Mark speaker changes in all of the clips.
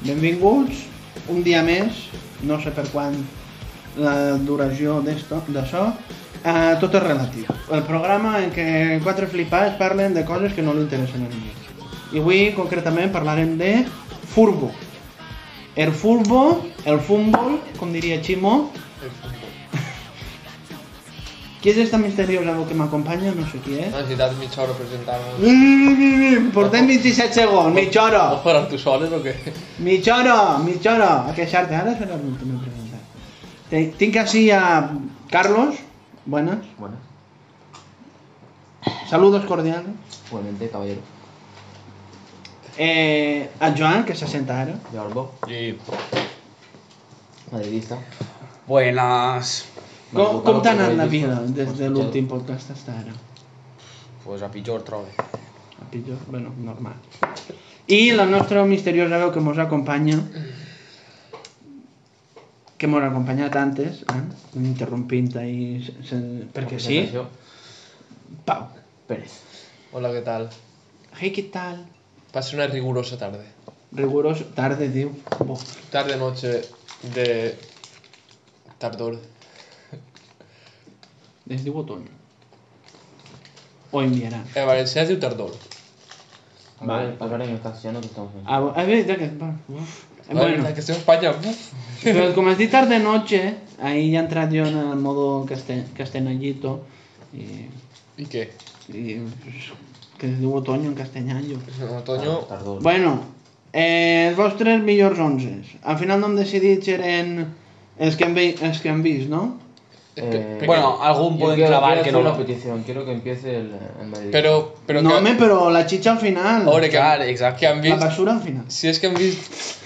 Speaker 1: Benvinguts un dia més, no sé per quan la duració d'això, a tot és relatiu. El programa en què quatre flipats parlen de coses que no li interessen a ningú. I avui concretament parlarem de furbo. El furbo, el fútbol, com diria Chimo. Qui és esta misteriosa que m'acompanya? No sé qui és. Mm,
Speaker 2: No, si t'has mitja hora presentant-nos.
Speaker 1: Portem 27 segons, mitja hora.
Speaker 2: Vols parar tu soles o què?
Speaker 1: Mitja hora, mitja hora, a queixar-te. Ara serà l'última pregunta. Te- Tinc així a Carlos. Buenas.
Speaker 3: Bueno,
Speaker 1: Saludos cordiales.
Speaker 3: igualmente, caballero.
Speaker 1: Eh, a Joan, que se senta ara.
Speaker 3: Yorbo,
Speaker 2: Sí.
Speaker 3: madridista.
Speaker 4: Buenas.
Speaker 1: Com, com t'ha anat la vida des de
Speaker 3: Escolteu.
Speaker 1: l'últim podcast fins ara?
Speaker 4: Pues a pitjor trobe.
Speaker 1: A pitjor? Bueno, normal. I la nostra misteriosa veu que mos acompanya, que mos ha acompanyat antes, eh? interrompint ahí, sen- sen- perquè sí,
Speaker 3: Presentació.
Speaker 1: Pau.
Speaker 3: Pérez.
Speaker 2: Hola, què tal?
Speaker 1: Hey, què tal?
Speaker 2: Passa una rigorosa tarda.
Speaker 1: Riguroso. Tarde, diu. Bo.
Speaker 2: Tarde, noche de... Tardor.
Speaker 1: Es diu otoño. O invierno.
Speaker 2: En Eh, valencià es diu tardor.
Speaker 1: Vale.
Speaker 3: Ahora en el castellano que estamos en.
Speaker 1: Ah, bo- ah, bé, ja que... va, Uf. Eh,
Speaker 2: La
Speaker 1: Bueno,
Speaker 2: veritat que estem a Espanya. Uf.
Speaker 1: però com has dit tarde noche, ahí ya he entrat jo en el modo castel, castellanito y,
Speaker 2: I què?
Speaker 1: y pues, que es diu otoño en castellano.
Speaker 2: En otoño...
Speaker 4: Ah,
Speaker 3: Tardó.
Speaker 1: Bueno, eh, els vostres millors onzes. Al final no hem decidit si eren els que hem, vi, els que hem vist, no?
Speaker 2: és que-
Speaker 3: Eh,
Speaker 2: perquè-
Speaker 4: Bueno, algún
Speaker 3: Yo
Speaker 4: pueden
Speaker 3: quiero, quiero
Speaker 4: clavar que
Speaker 3: hacer
Speaker 4: no
Speaker 3: una
Speaker 4: lo...
Speaker 3: petición, quiero que empiece el, el madridista.
Speaker 2: Però... però
Speaker 1: no,
Speaker 2: que-
Speaker 1: home, però la xitxa al final.
Speaker 2: A veure, que,
Speaker 4: Clar, exacte.
Speaker 2: que han
Speaker 1: la
Speaker 2: vist...
Speaker 1: basura al final.
Speaker 2: Si és que han vist...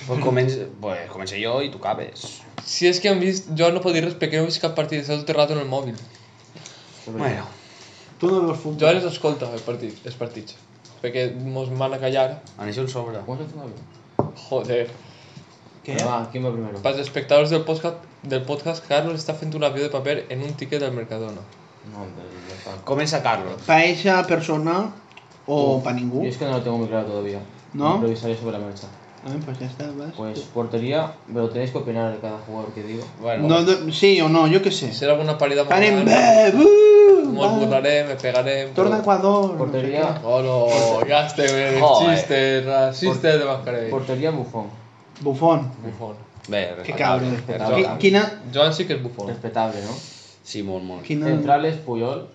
Speaker 4: Pues comencé, pues comencé yo y tú cabes.
Speaker 2: Si és que han vist... Jo no puc dir res perquè no he vist cap partit. Estàs tot el rato en el mòbil.
Speaker 4: Bueno,
Speaker 1: Tu no veus futbol.
Speaker 2: Jo ara els escolta el partit, els partits. Perquè mos mana callar.
Speaker 4: han hecho un sobra.
Speaker 3: ¿Cómo se hace la vida?
Speaker 2: Joder.
Speaker 1: Què?
Speaker 3: Bueno, va, ¿quién va primero?
Speaker 2: Para los espectadores del podcast, del podcast, Carlos está frente a un avión de papel en un ticket del Mercadona.
Speaker 3: No, hombre, ya está.
Speaker 4: Comienza Carlos.
Speaker 1: Pa eixa persona o pa ningú.
Speaker 3: Yo es que no lo tengo muy claro todavía.
Speaker 1: ¿No?
Speaker 3: Improvisaré sobre la marcha.
Speaker 1: Ah, pues ya está, vas.
Speaker 3: Pues portería, pero tenéis que opinar de cada jugador que digo.
Speaker 2: Bueno,
Speaker 1: No, no, sí o no, jo què sé.
Speaker 2: será alguna parida molt
Speaker 1: Anem
Speaker 2: gran,
Speaker 1: bé, buh,
Speaker 2: molt
Speaker 1: va.
Speaker 2: burlaré, me pegaré... però-
Speaker 1: Torna a Ecuador. no sé
Speaker 3: Portería,
Speaker 2: Oh, no, gaste, el
Speaker 4: Joder.
Speaker 2: chiste, racista de mascarell.
Speaker 3: portería Bufón.
Speaker 1: què. Bufón,
Speaker 2: Bufón.
Speaker 4: Ver,
Speaker 1: que cabre.
Speaker 3: respectable.
Speaker 1: Qui- Quina...
Speaker 2: Joan sí que és bufón.
Speaker 3: Respetable, ¿no?
Speaker 4: Simón, mon.
Speaker 1: Quina...
Speaker 3: Centrales, Puyol.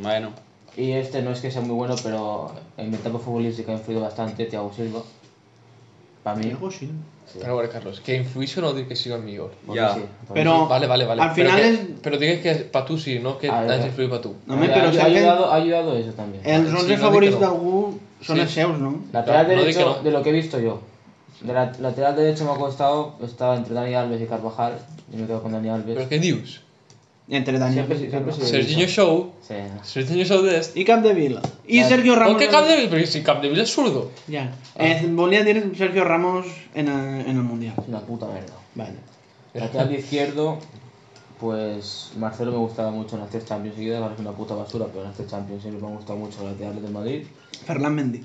Speaker 4: Bueno.
Speaker 3: Y este no es que sea muy bueno, pero en mi etapa futbolística ha influido bastante Thiago Silva. Para mí.
Speaker 1: Diego Silva.
Speaker 2: Però a veure, Carlos, que influïxo no dir que siga el millor.
Speaker 3: porque
Speaker 4: Ya.
Speaker 3: porque
Speaker 1: Però- No,
Speaker 2: Vale, vale, vale.
Speaker 1: al final
Speaker 2: però que,
Speaker 1: és-
Speaker 2: Però digues que pa tu sí, no que
Speaker 3: A veure.
Speaker 2: t'has influït pa tu.
Speaker 1: No, home,
Speaker 3: ha-
Speaker 1: però
Speaker 3: ha,
Speaker 1: s'ha fet-
Speaker 3: ayudado, ha ayudado eso también.
Speaker 1: Els
Speaker 2: Sí,
Speaker 1: 11
Speaker 2: no dic
Speaker 1: favorits
Speaker 2: que no.
Speaker 1: d'algú són
Speaker 2: Sí.
Speaker 1: els seus, no?
Speaker 3: Lateral
Speaker 2: no, no di que
Speaker 3: derecho,
Speaker 2: no.
Speaker 3: de lo que he visto yo. De la, lateral derecho me ha costado, estaba entre Dani Alves y Carvajal, y me quedo con Dani Alves.
Speaker 2: Però què dius?
Speaker 1: Entre Daniel
Speaker 2: pues.
Speaker 3: Siempre, sí, siempre sí.
Speaker 2: Serginho Show,
Speaker 3: Sí.
Speaker 2: Serginho Show este. d'est...
Speaker 1: i Capdevila. I
Speaker 3: Ah.
Speaker 1: Sergio
Speaker 2: O
Speaker 1: Ramos.
Speaker 2: que cap de Vila, perquè si cap de Vila és zurdo.
Speaker 1: Ja.
Speaker 2: Ah.
Speaker 1: Eh, volia dir Sergio Ramos en el, en el Mundial.
Speaker 3: Es una puta mierda.
Speaker 1: Vale.
Speaker 3: Lateral izquierdo, pues Marcelo me gustaba mucho en las tres Champions seguidas, ahora es una puta basura, pero en las tres Champions siempre me han gustado mucho los laterales del Madrid.
Speaker 1: Ferran Mendy.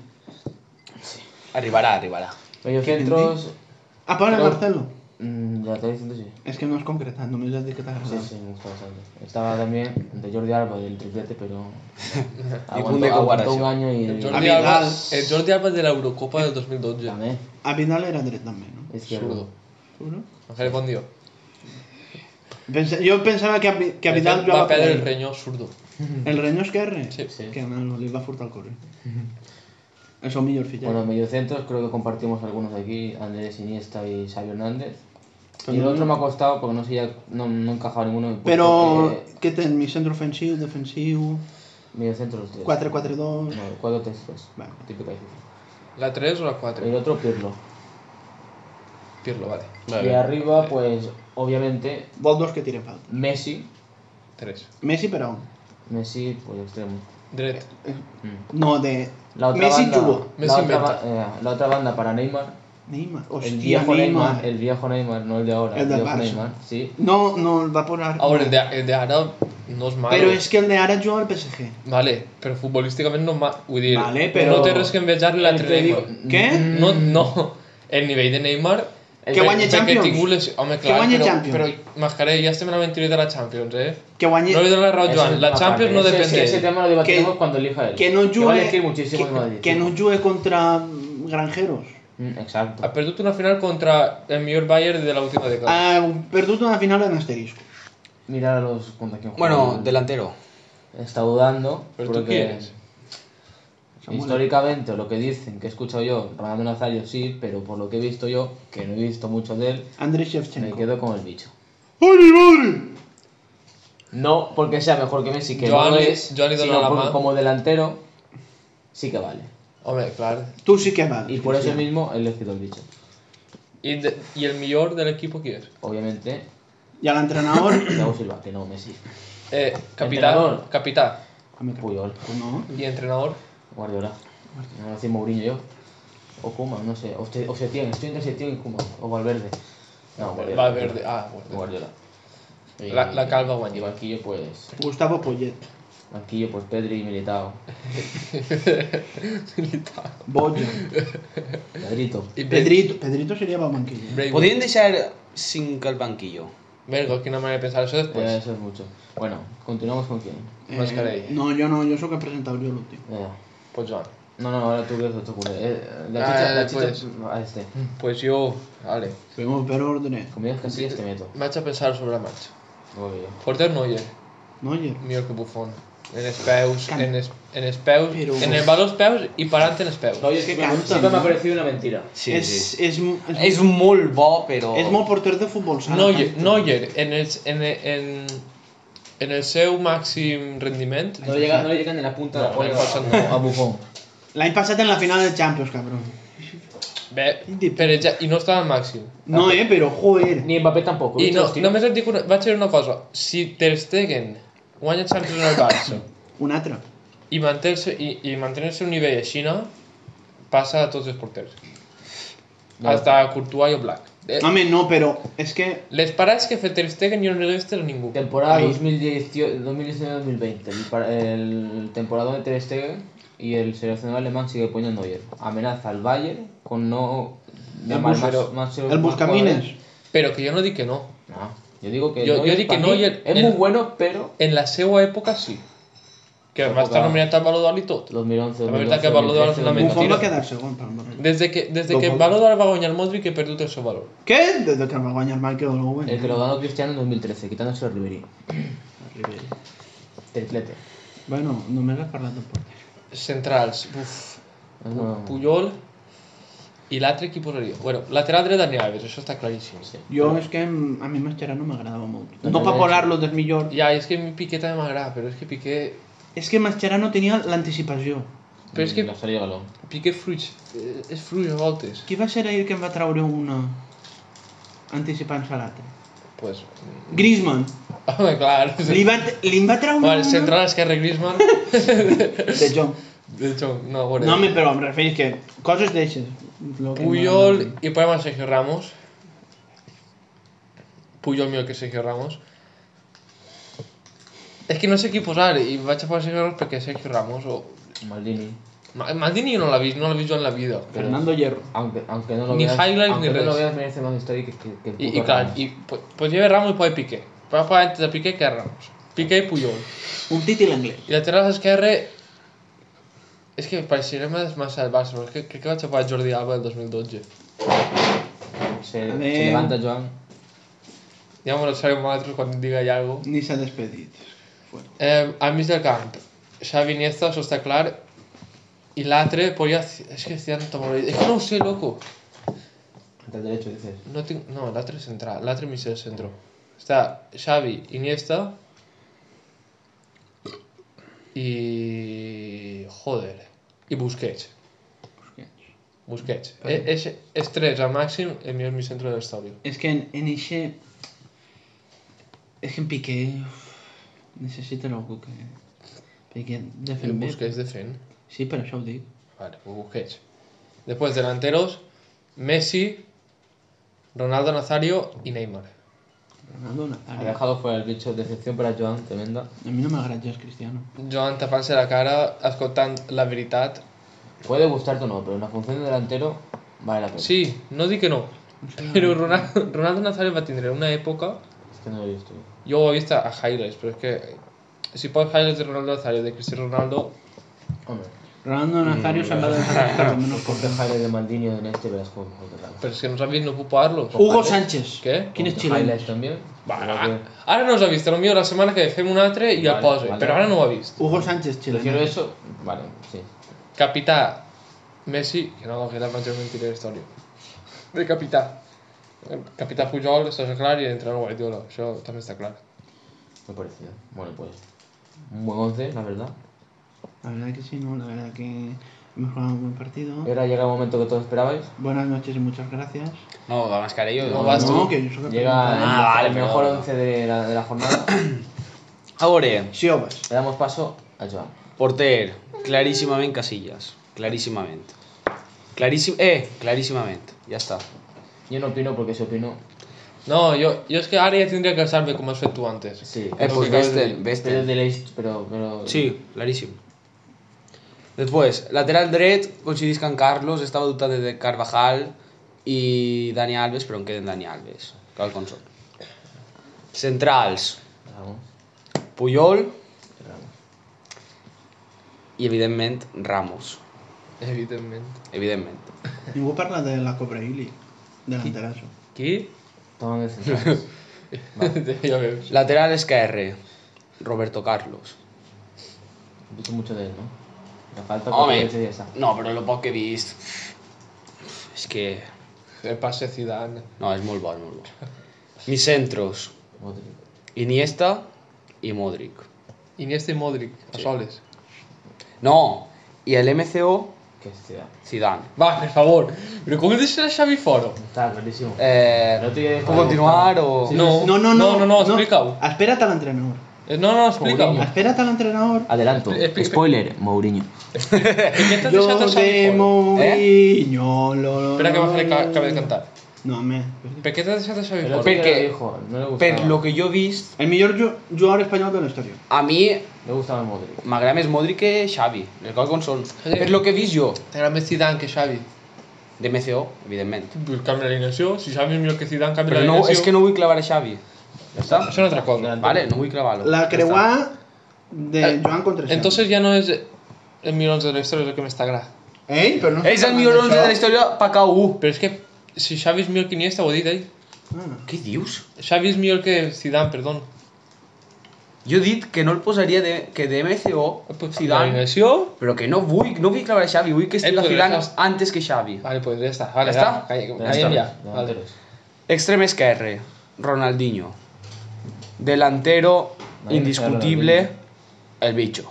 Speaker 4: Arribará, arribará.
Speaker 3: Medio centros,
Speaker 1: Ah, Pablo
Speaker 3: Però-
Speaker 1: Marcelo.
Speaker 3: mm, lateral izquierdo sí.
Speaker 1: És que no has concretat, només has dit que t'ha
Speaker 3: Sí,
Speaker 1: agradat.
Speaker 3: sí, me gusta bastante. Estaba también de Jordi Alba del triplete, pero.
Speaker 4: Cunde
Speaker 3: aguantó,
Speaker 4: con
Speaker 3: aguantó un
Speaker 4: Guaracio.
Speaker 3: año y.
Speaker 2: El
Speaker 1: A
Speaker 2: Jordi,
Speaker 1: mi
Speaker 2: Alba,
Speaker 1: dalt.
Speaker 2: el Jordi Alba de l'Eurocopa del 2012.
Speaker 3: También,
Speaker 1: A Vidal era dret també, no?
Speaker 3: izquierdo.
Speaker 2: Zurdo.
Speaker 1: Seguro?
Speaker 2: Ángel Bondio.
Speaker 1: Pensa, jo pensava que, a Vi- que a Vidal
Speaker 2: va
Speaker 1: jugava
Speaker 2: a perder
Speaker 1: per
Speaker 2: el
Speaker 1: ell.
Speaker 2: reñó zurdo.
Speaker 1: El renyó esquerre?
Speaker 2: Sí.
Speaker 3: Sí.
Speaker 1: Que no, li va furtar el corrent. És el millor fitxatge.
Speaker 3: Bueno, mediocentros creo que compartimos algunos aquí, Andrés Iniesta y Xavi Hernández.
Speaker 1: Pero
Speaker 3: Y el
Speaker 1: no-
Speaker 3: otro me ha costado porque no sé ya, no, no encajaba ninguno. en el
Speaker 1: Però
Speaker 3: puesto que-
Speaker 1: què tens? Mi centre ofensiu, defensiu,
Speaker 3: Mediocentros los tres.
Speaker 1: 4-4-2...
Speaker 3: No, cuatro tres tres.
Speaker 1: Vale.
Speaker 3: Típica difícil.
Speaker 2: La 3 o la
Speaker 3: El
Speaker 2: 4?
Speaker 3: otro Pirlo.
Speaker 2: Pirlo, vale.
Speaker 4: Vale.
Speaker 3: Y arriba, pues, obviamente,
Speaker 1: Vol dos que tiren falta.
Speaker 3: Messi.
Speaker 2: Tres.
Speaker 1: Messi, però...
Speaker 3: Messi, pues, extremo.
Speaker 2: Dret.
Speaker 1: Eh.
Speaker 3: Mm.
Speaker 1: No, de...
Speaker 3: La otra
Speaker 1: Messi
Speaker 3: banda,
Speaker 1: jugó.
Speaker 3: La,
Speaker 2: Messi
Speaker 3: otra, ba-
Speaker 2: inventa.
Speaker 3: eh, la otra banda para Neymar.
Speaker 1: Neymar.
Speaker 3: El
Speaker 1: Hòstia,
Speaker 3: viejo Neymar.
Speaker 1: Neymar.
Speaker 3: el viejo Neymar, no el de ahora.
Speaker 1: El del
Speaker 3: viejo
Speaker 1: Barça.
Speaker 3: Neymar, sí.
Speaker 1: No, no, el va posar...
Speaker 2: Ahora, Ah, el de, el de ara no és mal.
Speaker 1: Però és que el de ara juga al PSG.
Speaker 2: Vale, però futbolísticament no és mal. Vull dir,
Speaker 1: Vale, però-
Speaker 2: no té res que envejar l'altre
Speaker 3: El que
Speaker 2: Neymar.
Speaker 3: diu-
Speaker 1: Què?
Speaker 2: No, no. El nivell de Neymar...
Speaker 1: Mm.
Speaker 3: El
Speaker 1: Que
Speaker 2: per-
Speaker 1: guanyi
Speaker 2: perquè
Speaker 1: Champions.
Speaker 2: ha tingut les- Home,
Speaker 1: Que
Speaker 2: clar,
Speaker 1: guanyi
Speaker 2: però,
Speaker 1: Champions.
Speaker 2: Però, Mascarell, ja estem en la mentida de la Champions, eh?
Speaker 1: Que guanyi...
Speaker 2: No li dono la raó,
Speaker 3: Ese
Speaker 2: Joan.
Speaker 3: es
Speaker 2: La
Speaker 3: aparte.
Speaker 2: Champions no
Speaker 3: Ese-
Speaker 2: depèn
Speaker 3: Ese, ese
Speaker 2: d'ell.
Speaker 3: tema lo debatiremos
Speaker 1: Que-
Speaker 3: cuando elija él.
Speaker 1: que no
Speaker 3: va a
Speaker 1: juegue...
Speaker 3: elegir muchísimo el
Speaker 1: que,
Speaker 3: Madrid.
Speaker 1: que no juegue contra granjeros.
Speaker 3: Mm, Exacto.
Speaker 2: Ha perdut una final contra el millor Bayern de l'última dècada.
Speaker 1: Ha perdut una final en asterisco.
Speaker 3: Mirar a los contra quién juega.
Speaker 4: Bueno, delantero.
Speaker 3: Está dudando.
Speaker 2: Pero tú
Speaker 3: porque
Speaker 2: quieres.
Speaker 1: Samuel.
Speaker 3: Históricamente, lo que dicen, que he escuchado yo, Ronaldo Nazario sí, pero por lo que he visto yo, que no he visto mucho de él,
Speaker 1: Andrés
Speaker 3: me
Speaker 1: Shevchenko.
Speaker 3: quedo con el bicho.
Speaker 1: ¡Ay, mi madre!
Speaker 3: No porque sea mejor que Messi, que
Speaker 2: Joan
Speaker 3: no lo
Speaker 2: le-
Speaker 3: es,
Speaker 2: Joan le
Speaker 3: sino
Speaker 2: dona la
Speaker 3: porque
Speaker 2: mano.
Speaker 3: como delantero sí que vale.
Speaker 2: Home, clar.
Speaker 1: Tú sí que vas.
Speaker 3: Y por eso mismo he elegido el bicho.
Speaker 2: I, de, i el millor de l'equip qui és?
Speaker 3: Obviamente,
Speaker 1: Y al entrenador.
Speaker 3: Thiago Silva, que no Messi.
Speaker 2: Eh, capità,
Speaker 3: Entrenador.
Speaker 2: capità
Speaker 3: Puyol,
Speaker 1: no.
Speaker 2: i entrenador.
Speaker 3: Guardiola. No lo hacía Mourinho yo. O Kuma, no sé. O, Se- o Setién, estoy entre Setién y Kuma. O Valverde. No, Guardiola.
Speaker 2: Valverde, ah, Guardiola.
Speaker 3: Guardiola. Y-
Speaker 2: La- la calva Guardiola.
Speaker 3: Y banquillo, pues.
Speaker 1: Gustavo Poyet.
Speaker 3: Banquillo, pues Pedri y Militao.
Speaker 1: Bojan.
Speaker 3: Pedrito.
Speaker 2: I Pedri.
Speaker 1: Pedrito. Pedrito sería para banquillo.
Speaker 4: Podrían deixar 5 al banquillo.
Speaker 2: Vergo, quina manera de pensar això
Speaker 3: Eh,
Speaker 2: després.
Speaker 3: eso es mucho. Bueno, continuamos con quién.
Speaker 2: Mascarell.
Speaker 1: no, yo no, yo soy que he presentado yo el último.
Speaker 3: Eh,
Speaker 2: Pues Joan.
Speaker 3: no, no, ahora tú que otro culo. Eh, la
Speaker 2: Ah,
Speaker 3: chicha, la
Speaker 2: eh,
Speaker 3: chicha.
Speaker 2: pues.
Speaker 3: A este.
Speaker 2: Pues jo, vale.
Speaker 1: Fuimos per orden.
Speaker 3: Conmigo es Casillas te este meto.
Speaker 2: Vaig a pensar sobre la marxa.
Speaker 3: Voy yo.
Speaker 2: Porter Neuer,
Speaker 1: No, oye.
Speaker 2: millor que Buffon. En els peus,
Speaker 1: Can-
Speaker 2: en els, en els peus,
Speaker 1: Però-
Speaker 2: en el baló als peus i parant en els peus.
Speaker 3: Oye,
Speaker 1: es que
Speaker 3: siempre me-
Speaker 1: cantan,
Speaker 3: siempre me
Speaker 1: ¿no?
Speaker 3: ha parecido una mentira.
Speaker 4: Sí,
Speaker 1: es,
Speaker 4: sí.
Speaker 1: es, es,
Speaker 4: És molt bo, però...
Speaker 1: es muy portero de fútbol sala.
Speaker 2: Neuer, Neuer en, els, en, en, en el seu màxim rendiment,
Speaker 3: No le llega, no le llega ni la punta de la
Speaker 2: No, no,
Speaker 3: polla
Speaker 2: no,
Speaker 3: a- a Buffon.
Speaker 1: La he pasado en la final de Champions, cabrón.
Speaker 2: bé, per ja, i no estava al màxim.
Speaker 1: No, eh, pero joder.
Speaker 3: Ni Mbappé tampoco.
Speaker 2: I
Speaker 3: ¿viste?
Speaker 2: no,
Speaker 3: Hostia.
Speaker 2: només et dic una, vaig dir una cosa, si Ter Stegen guanya Champions en el Barça
Speaker 1: Un atra.
Speaker 2: i manté el, seu- i, i manté el seu nivell a Xina, passa a tots els porters.
Speaker 3: No.
Speaker 2: Hasta Courtois i Black. Eh,
Speaker 1: Hombre, no, pero es que
Speaker 2: les parades que ha fet Ter Stegen jo no l'he vist a ningú.
Speaker 3: Temporada
Speaker 1: Ahí.
Speaker 3: 2019-2020. El, par- el temporada de Ter Stegen y el seleccionador alemán sigue poniendo ayer. Amenaza al Bayern con no llamar
Speaker 1: bus-
Speaker 3: más,
Speaker 1: el Buscamines.
Speaker 2: Però que jo no dic que no.
Speaker 3: No, yo digo que
Speaker 2: Yo- yo
Speaker 3: Neuer
Speaker 2: di que
Speaker 3: para mí
Speaker 2: Neuer-
Speaker 3: es
Speaker 2: el-
Speaker 3: muy bueno, pero
Speaker 2: En la seva època sí. Que va estar nominat al Baló d'Or i tot.
Speaker 3: 2011.
Speaker 2: La veritat que Valor de la
Speaker 3: 2013,
Speaker 2: mentira.
Speaker 1: Buffon va quedar segon pel Madrid.
Speaker 2: Des de que, des de que el Baló d'Or va guanyar Modric he perdut el seu valor.
Speaker 1: Què? Des de que va guanyar Michael Owen.
Speaker 3: El que lo ganó Cristiano en 2013, quitándose a Ribery.
Speaker 1: Ribéry.
Speaker 3: Triplete.
Speaker 1: Bueno, només has parlat del porter.
Speaker 2: Centrals, uf,
Speaker 3: No,
Speaker 2: Puyol i l'altre qui posaria? Bueno, lateral dret Dani Alves, això està claríssim.
Speaker 3: sí.
Speaker 1: Jo és que em- a mi Mascherano m'agradava molt. No
Speaker 3: També
Speaker 1: per
Speaker 3: és-
Speaker 1: parlar-lo del millor.
Speaker 2: Ja, és que a mi Piqué també m'agrada, però és que Piqué...
Speaker 1: És que Mascherano tenia l'anticipació.
Speaker 2: Però és que
Speaker 3: La salida balón.
Speaker 2: Piqué fruits, eh, és fruits a voltes.
Speaker 1: Qui va ser ahir que em va treure una anticipant-se a l'altre?
Speaker 2: Pues, ah,
Speaker 1: Griezmann.
Speaker 2: home, clar.
Speaker 1: Li, va, li en va treure
Speaker 2: Bueno,
Speaker 1: una
Speaker 2: central esquerre Griezmann.
Speaker 1: de Jong.
Speaker 2: De hecho, no, a veure.
Speaker 1: No, home, però em refereix que coses deixes.
Speaker 2: Puyol i podem a Sergio Ramos. Puyol millor que Sergio Ramos. És que no sé qui posar i vaig a posar Sergio Ramos perquè Sergio Ramos o...
Speaker 3: Maldini.
Speaker 2: Ma- Maldini jo no l'ha vist, no l'he vist jo en la vida.
Speaker 1: Fernando Hierro.
Speaker 3: Aunque, aunque no lo
Speaker 2: Ni
Speaker 3: veas.
Speaker 2: highlights
Speaker 3: aunque
Speaker 2: ni
Speaker 3: no lo
Speaker 2: res.
Speaker 3: veas, merece más historia que, que, que el
Speaker 2: I,
Speaker 3: puto
Speaker 2: i clar,
Speaker 3: Ramos.
Speaker 2: i, po- pues lleva Ramos i pot Piqué. Però per antes de Piqué que a Ramos. Piqué i Puyol.
Speaker 1: Un títol anglès.
Speaker 2: I lateral esquerre... És que pareixerem massa al Barça, però és que crec que vaig a posar Jordi Alba del 2012.
Speaker 3: Se,
Speaker 1: A
Speaker 3: se
Speaker 1: ver.
Speaker 3: levanta Joan.
Speaker 2: Ja me lo sabem nosaltres quan diga hi ha alguna cosa.
Speaker 1: Ni s'ha despedit. Bueno.
Speaker 2: Eh, al mig del camp, Xavi Iniesta, això està clar. I l'altre, podria... És que estic molt... És que no ho sé, loco.
Speaker 3: Del derecho dices.
Speaker 2: No, tinc... no l'altre central, l'altre mig del centre. Està Xavi, Iniesta... I... Joder. I Busquets. Busquets. Eh, Es, es tres, al màxim, el millor mi centre de la història.
Speaker 1: Es que en, en ese. Es que en Piqué. uf, necessiten algú que. Piqué
Speaker 2: El
Speaker 1: defensa.
Speaker 2: Busquets defent.
Speaker 1: Sí, per això ho dic.
Speaker 2: Vale, pues Busquets. Después, delanteros, Messi, Ronaldo Nazario y Neymar.
Speaker 1: Ronaldo
Speaker 3: Ha
Speaker 1: Nazario.
Speaker 3: dejado fuera el bicho de excepción para Joan, tremenda.
Speaker 1: A mi no m'agrada gens Cristiano.
Speaker 2: Joan tapant-se la cara, escoltant la veritat.
Speaker 3: Puede gustarte o no, pero en la función de delantero vale la pena.
Speaker 2: Sí, no dic que no, però Ronaldo, Ronaldo Nazario va tindre una època...
Speaker 3: Es que Este no lo he visto.
Speaker 2: Jo ho he vist a highlights, però és que si pots highlights de Ronaldo Nazario, de Cristiano Ronaldo,
Speaker 3: Hombre,
Speaker 1: Ronaldo
Speaker 2: Mm.
Speaker 1: Nazario se'n va deixar per lo menos
Speaker 3: con Jaire Este de Maldini o de Neste verás cómo mejor que tal.
Speaker 2: però és que no sabis no puc parlar-los.
Speaker 1: Hugo Sánchez.
Speaker 2: Què?
Speaker 1: Quin és
Speaker 3: Con
Speaker 1: xilè?
Speaker 3: Highlights Este también.
Speaker 2: Va,
Speaker 3: Creo que-
Speaker 2: ara no us ha vist, potser la setmana que ve fem un altre i el
Speaker 3: Vale,
Speaker 2: poso,
Speaker 3: vale.
Speaker 2: però ara no ho ha vist.
Speaker 1: Hugo Sánchez
Speaker 3: Prefiero
Speaker 1: xilè.
Speaker 3: eso. Vale, sí.
Speaker 2: Capità, Messi, que no, que és la major mentida de la història. De capità. El Capità Pujol, això és clar, i l'entrenador Guardiola, això també està clar.
Speaker 3: Me pareció. Bueno, pues. Un buen once, la verdad.
Speaker 1: La verdad que sí, ¿no? La verdad que hemos jugado un buen partido.
Speaker 3: Y ahora llega el momento que todos esperabais.
Speaker 1: Buenas noches y muchas gracias.
Speaker 4: No, la mascarilla.
Speaker 2: No, vas
Speaker 1: no,
Speaker 2: tú.
Speaker 1: que yo solo
Speaker 3: Llega el,
Speaker 4: Ah, vale,
Speaker 3: el mejor
Speaker 4: perdón.
Speaker 3: once de la, de la jornada.
Speaker 4: A veure,
Speaker 1: Si ho vas.
Speaker 3: Le damos paso a Joan.
Speaker 4: porter, claríssimament Casillas. Claríssimament. Claríssim... Eh, claríssimament. Ja està.
Speaker 3: Yo no opino porque si opino.
Speaker 2: No, jo, jo és que ara ja tindria que saber com has fet tu antes.
Speaker 3: Sí.
Speaker 4: Eh, pues Vesten,
Speaker 3: Pero
Speaker 4: Vesten.
Speaker 3: de la hist- pero, pero.
Speaker 4: Sí, claríssim. Després, lateral dret, coincidís que en Carlos estava dubtant de Carvajal i Dani Alves, però en queden Dani Alves, cal com són. Centrals,
Speaker 3: Ramos,
Speaker 4: Puyol
Speaker 3: Ramos.
Speaker 4: i, evidentment, Ramos.
Speaker 2: Evidentment.
Speaker 4: Evidentment.
Speaker 1: Ningú parla de la Cobra Ili, delanterazo.
Speaker 2: Qui?
Speaker 3: Toman de centrales.
Speaker 2: ja veus.
Speaker 4: Lateral esquerre, Roberto Carlos.
Speaker 3: He visto mucho de él, ¿no? La falta
Speaker 4: Home,
Speaker 3: porque ya está.
Speaker 4: no, però el poc que he vist... És que...
Speaker 2: El passe Zidane.
Speaker 4: No, és molt bo, és molt bo. Mis centros,
Speaker 3: Modric.
Speaker 4: Iniesta i Modric.
Speaker 2: Iniesta i Modric, a soles.
Speaker 4: No, i el MCO,
Speaker 3: Qué ciudad.
Speaker 4: Zidane.
Speaker 2: Va, per favor. Però com deixes a Xavi fora?
Speaker 3: Está clarísimo.
Speaker 4: Eh,
Speaker 3: No te-
Speaker 4: ¿Puedo continuar o...?
Speaker 2: No,
Speaker 1: No, no, no.
Speaker 2: no, no, no explica-ho.
Speaker 1: Espera't a l'entrenador.
Speaker 2: Eh, No, no, explica-ho.
Speaker 1: Espera't a l'entrenador.
Speaker 3: Adelanto.
Speaker 2: Expli- expli-
Speaker 3: Spoiler, Mourinho.
Speaker 2: Per què t'has deixat a
Speaker 1: Yo
Speaker 2: Xavi
Speaker 1: de
Speaker 2: fora?
Speaker 1: Mourinho, lo, lo,
Speaker 2: Espera que m'ha fet
Speaker 1: lo,
Speaker 2: ca- cabe de
Speaker 1: lo.
Speaker 2: cantar.
Speaker 1: No, pues, home.
Speaker 2: Per què t'has deixat a Xavi
Speaker 3: Pero
Speaker 2: fora?
Speaker 4: Per què?
Speaker 3: lo dijo, no le gustaba.
Speaker 4: Per lo que jo he vist,
Speaker 1: El millor ju- jugador espanyol de la història.
Speaker 4: a mi
Speaker 3: Le gustaba el Modric.
Speaker 4: m'agrada més Modric que Xavi, les quals com són. Per lo que he vist jo,
Speaker 2: T'agrada més Zidane que Xavi.
Speaker 4: de MCO, evidentment.
Speaker 2: Vull canviar l'alineació, si Xavi és millor que Zidane, canvia
Speaker 4: Però no, és que
Speaker 2: l'alineació.
Speaker 4: no vull clavar a Xavi. Ja està?
Speaker 2: Això és una altra cosa.
Speaker 3: Gran-
Speaker 4: Vale, no vull clavar-lo.
Speaker 1: La
Speaker 4: Ja està.
Speaker 1: creuà de Joan Contreras.
Speaker 2: Entonces ja no és el millor 11 de la història el que m'està agradant.
Speaker 1: Ei, però ¿Eh? no...
Speaker 4: És el millor 11 de la història pa cau 1.
Speaker 2: Però és que si Xavi és millor que Iniesta, ho he dit ell.
Speaker 1: Ah.
Speaker 4: Què dius?
Speaker 2: Xavi és millor que Zidane, perdó.
Speaker 4: Jo he dit que no el posaria de, que de MCO,
Speaker 2: Ah, pues
Speaker 4: Zidane,
Speaker 2: L'alineació...
Speaker 4: però que no vull, no vull clavar a Xavi, vull que estigui
Speaker 2: Eh,
Speaker 4: la
Speaker 2: però
Speaker 4: Zidane
Speaker 2: estàs-
Speaker 4: antes que Xavi.
Speaker 2: Vale, pues ya está. Vale,
Speaker 4: Ya está.
Speaker 2: va, Calla,
Speaker 3: Ya
Speaker 2: calla
Speaker 3: está.
Speaker 2: ya. Vale.
Speaker 3: Delanteros.
Speaker 4: Extremo esquerre, Ronaldinho. Delantero
Speaker 3: Nadie
Speaker 4: indiscutible, el bicho.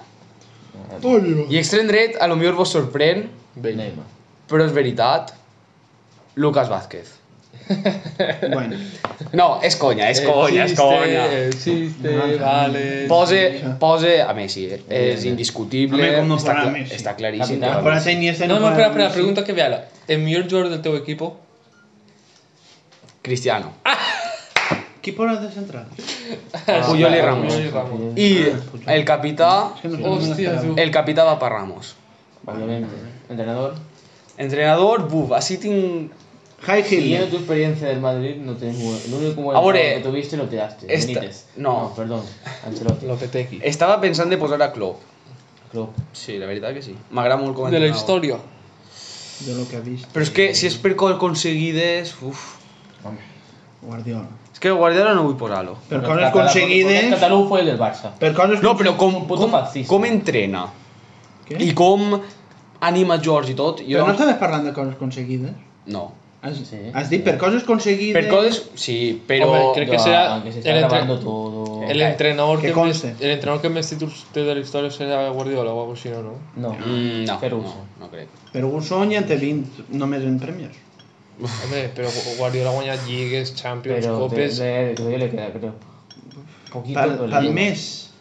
Speaker 1: Olio.
Speaker 4: I extrem dret, a lo millor vos sorprèn,
Speaker 2: Bale.
Speaker 3: Neymar.
Speaker 4: però és veritat, Lucas Vázquez.
Speaker 1: Bueno,
Speaker 4: No, és conya, és conya, és
Speaker 2: Existe,
Speaker 4: conya.
Speaker 2: Existe,
Speaker 1: No,
Speaker 2: vale.
Speaker 4: Pose, pose a Messi, és indiscutible,
Speaker 1: Home, com no
Speaker 4: està,
Speaker 1: farà
Speaker 4: cla-
Speaker 1: Messi?
Speaker 4: està claríssim.
Speaker 3: Capità.
Speaker 4: que va
Speaker 1: ahora se ni este
Speaker 2: No, no,
Speaker 1: puede-
Speaker 2: espera, espera, pregunta que vea. la- ¿El mejor jugador del teu equipo?
Speaker 4: Messi. Cristiano.
Speaker 1: Qui posa de central?
Speaker 4: Ah, Puyol i Ramos.
Speaker 2: Puyol i Ramos.
Speaker 4: I el capità,
Speaker 1: Es que no- no me lo
Speaker 2: Hostia,
Speaker 1: esperaba.
Speaker 2: tú.
Speaker 4: el capità va per Ramos.
Speaker 3: Obviamente. Entrenador.
Speaker 4: Entrenador, buf, així tinc...
Speaker 1: High
Speaker 3: Siguiendo
Speaker 1: Hill.
Speaker 3: tu experiencia del Madrid, no tenés muy... el único buen
Speaker 4: Ahora,
Speaker 3: entrenador que tuviste lo tiraste.
Speaker 4: esta-
Speaker 3: Benítez.
Speaker 4: no.
Speaker 3: perdón. Ancelotti.
Speaker 2: Lopetegui.
Speaker 4: Estava pensant de posar a Klopp.
Speaker 3: Klopp.
Speaker 4: Sí, la veritat que sí. M'agrada molt com a
Speaker 2: De la
Speaker 4: entrenador.
Speaker 2: historia.
Speaker 1: De lo que ha visto.
Speaker 4: Però és que si és per coses aconseguides... Uf.
Speaker 3: Hombre.
Speaker 1: Guardiola.
Speaker 4: És que Guardiola no vull posar-lo.
Speaker 1: Per
Speaker 3: Los
Speaker 1: coses
Speaker 3: catalán- porque El
Speaker 1: aconseguides...
Speaker 3: catalán fue el del Barça.
Speaker 1: Per coses...
Speaker 4: No, però com,
Speaker 3: puto
Speaker 4: com,
Speaker 3: fascista.
Speaker 4: com entrena
Speaker 1: Què?
Speaker 4: i com anima George i tot, jo...
Speaker 1: Però no estaves parlant de coses aconseguides?
Speaker 4: no.
Speaker 1: Has,
Speaker 3: Sí.
Speaker 1: has dit per coses aconseguides...
Speaker 4: Per coses, sí, però...
Speaker 2: Home, crec- que
Speaker 3: Ya,
Speaker 2: será
Speaker 3: Aunque se está
Speaker 2: el entre-
Speaker 3: grabando todo.
Speaker 2: El entrenador,
Speaker 1: Que
Speaker 2: que més,
Speaker 1: conste.
Speaker 2: el entrenador que més títols té de la història serà Guardiola o algo així, no? no?
Speaker 3: No.
Speaker 4: Mm, no,
Speaker 3: Ferguson.
Speaker 4: no, no crec.
Speaker 1: Però Gusson ja en té 20 només en premis.
Speaker 2: Home, però Gu- Guardiola ha guanyat lligues, Champions,
Speaker 3: Pero te-
Speaker 2: copes...
Speaker 3: le, todavía le queda, creo. Poquito,
Speaker 1: Pel,
Speaker 3: pero le
Speaker 1: pel
Speaker 3: queda.
Speaker 1: mes.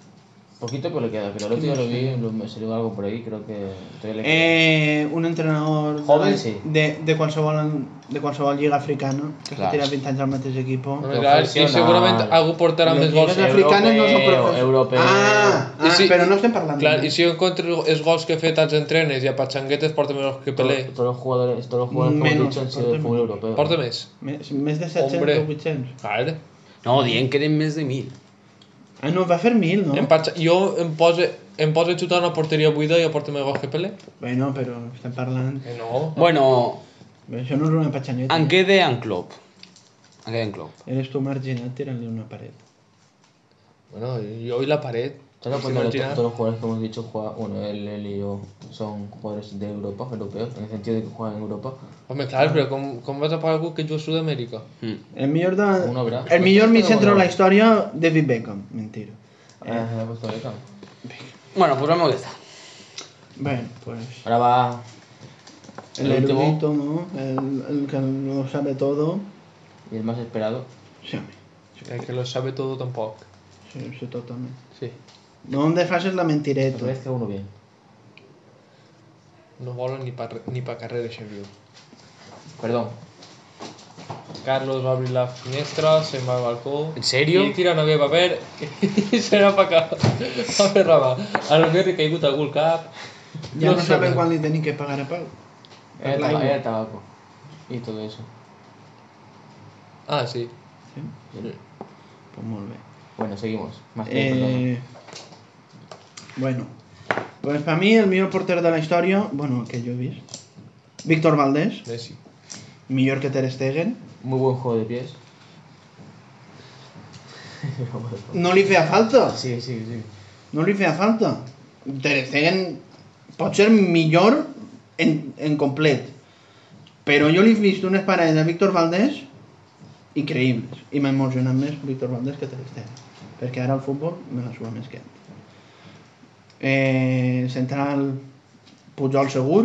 Speaker 3: Poquito, pero le queda. Pero el otro día lo vi, lo- me salió algo por ahí, creo que todavía le queda.
Speaker 1: Eh, un entrenador
Speaker 3: Joven,
Speaker 1: de,
Speaker 3: sí.
Speaker 1: de, de, qualsevol, de qualsevol lliga africana que
Speaker 4: Clar.
Speaker 1: se tira 20 anys al mateix equip.
Speaker 2: Home, clar, I
Speaker 3: professional.
Speaker 2: segurament algú portarà
Speaker 1: Les
Speaker 2: més
Speaker 1: lligues
Speaker 2: gols.
Speaker 3: Europeu,
Speaker 1: africanes no són profes.
Speaker 3: europeu.
Speaker 1: Ah, ah
Speaker 2: I si-
Speaker 1: però no estem parlant.
Speaker 2: Clar,
Speaker 1: de-
Speaker 2: i si jo encontro els gols que he fet als entrenes i a Patxanguetes porta més gols que Pelé.
Speaker 3: Todos, todos los jugadores, todos los jugadores como he
Speaker 1: Menos,
Speaker 3: dicho, han sido
Speaker 1: porta
Speaker 3: del fútbol europeo.
Speaker 2: Porta més.
Speaker 1: Més, més de 700
Speaker 2: Hombre.
Speaker 1: o 800.
Speaker 2: Clar.
Speaker 4: No, dient que eren més de mil.
Speaker 1: Ah, no, va fer 1.000, no?
Speaker 2: Em Patxa... Jo em poso, em poso a xutar una porteria buida i aporta més gols que Pelé.
Speaker 1: Bueno, però estem parlant...
Speaker 2: Que Eh, no.
Speaker 4: Bueno,
Speaker 1: Bé, Això no és una patxanyeta.
Speaker 4: en què deien Klopp? En què deien Klopp?
Speaker 1: Eres tu marginat, tirant-li una paret.
Speaker 2: Bueno, yo y la pared.
Speaker 3: Claro,
Speaker 2: ¿Se
Speaker 3: porque los-
Speaker 2: imaginan?
Speaker 3: todos los jugadores que hemos dicho, juega- bueno, él, él y yo son jugadores de Europa, europeos, en el sentido de que juegan en Europa.
Speaker 2: Home, clar, però com, com vas a pagar algú que juga a Sud-amèrica?
Speaker 4: Mm.
Speaker 1: El millor de...
Speaker 3: Un obra.
Speaker 1: El millor mig centre de la història, David Beckham. Mentira. Eh.
Speaker 3: Ah, me ha puesto beca.
Speaker 4: Bueno, posa'm aquesta.
Speaker 1: Bé, pues...
Speaker 3: Ahora va
Speaker 1: El,
Speaker 3: El último.
Speaker 1: erudito, ¿no? El, el que lo sabe todo.
Speaker 3: y el más esperado.
Speaker 1: Sí, home.
Speaker 2: El que lo sabe todo tampoc.
Speaker 1: Sí, sí, totalment.
Speaker 2: Sí.
Speaker 1: No em defases la
Speaker 3: Otra
Speaker 1: mentireta.
Speaker 3: vez que uno bien.
Speaker 2: No volen ni pa, ni pa carrer, això viu.
Speaker 3: Perdón.
Speaker 2: Carlos va obrir la finestra, se'n va al balcó...
Speaker 4: En sèrio?
Speaker 2: I tira una via de paper i se n'ha pa cap. A fer rama. A lo que li ha caigut algú al cap.
Speaker 1: Ja no
Speaker 2: sé
Speaker 1: saben
Speaker 2: res.
Speaker 1: quan li tenim que pagar a Pau.
Speaker 3: Era,
Speaker 1: La
Speaker 3: taba-
Speaker 1: igual.
Speaker 3: era tabaco. Y todo eso.
Speaker 2: Ah, sí.
Speaker 1: Sí? Pues molt bé.
Speaker 3: Bueno, seguimos. Más que perdón.
Speaker 1: Eh, bueno, pues para mí el millor porter de la història, bueno, que jo he vist, Víctor Valdés,
Speaker 2: Messi.
Speaker 1: Eh. millor que Ter Stegen,
Speaker 3: Muy buen juego de pies.
Speaker 1: no li feia falta,
Speaker 3: Sí, sí, sí.
Speaker 1: no li feia falta. Ter Stegen pot ser millor en, en complet, però jo li he vist unes parades a Víctor Valdés increïbles, i m'ha emocionat més Víctor Valdés que Ter Stegen, perquè ara el futbol me la sua més que antes. Eh, central Pujol segur,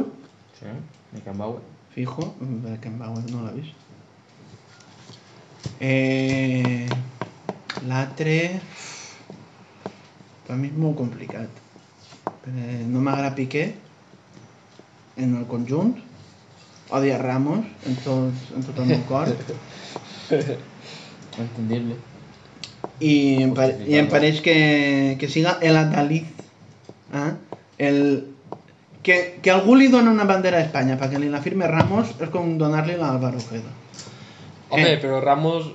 Speaker 3: Sí. Beckenbauer.
Speaker 1: Fijo, mm, Beckenbauer no l'ha vist. Eh, L'altre... Per mi és molt complicat. Eh, No m'agrada Piqué en el conjunt. Odia Ramos en tot, en tot el meu cor.
Speaker 3: Entendible.
Speaker 1: I, em pare, i em pareix que, que siga el Adaliz. Eh? El, que, que algú li dona una bandera a Espanya perquè li la firme Ramos és com donar-li la Álvaro Ojeda.
Speaker 2: Home,
Speaker 1: Eh.
Speaker 2: però Ramos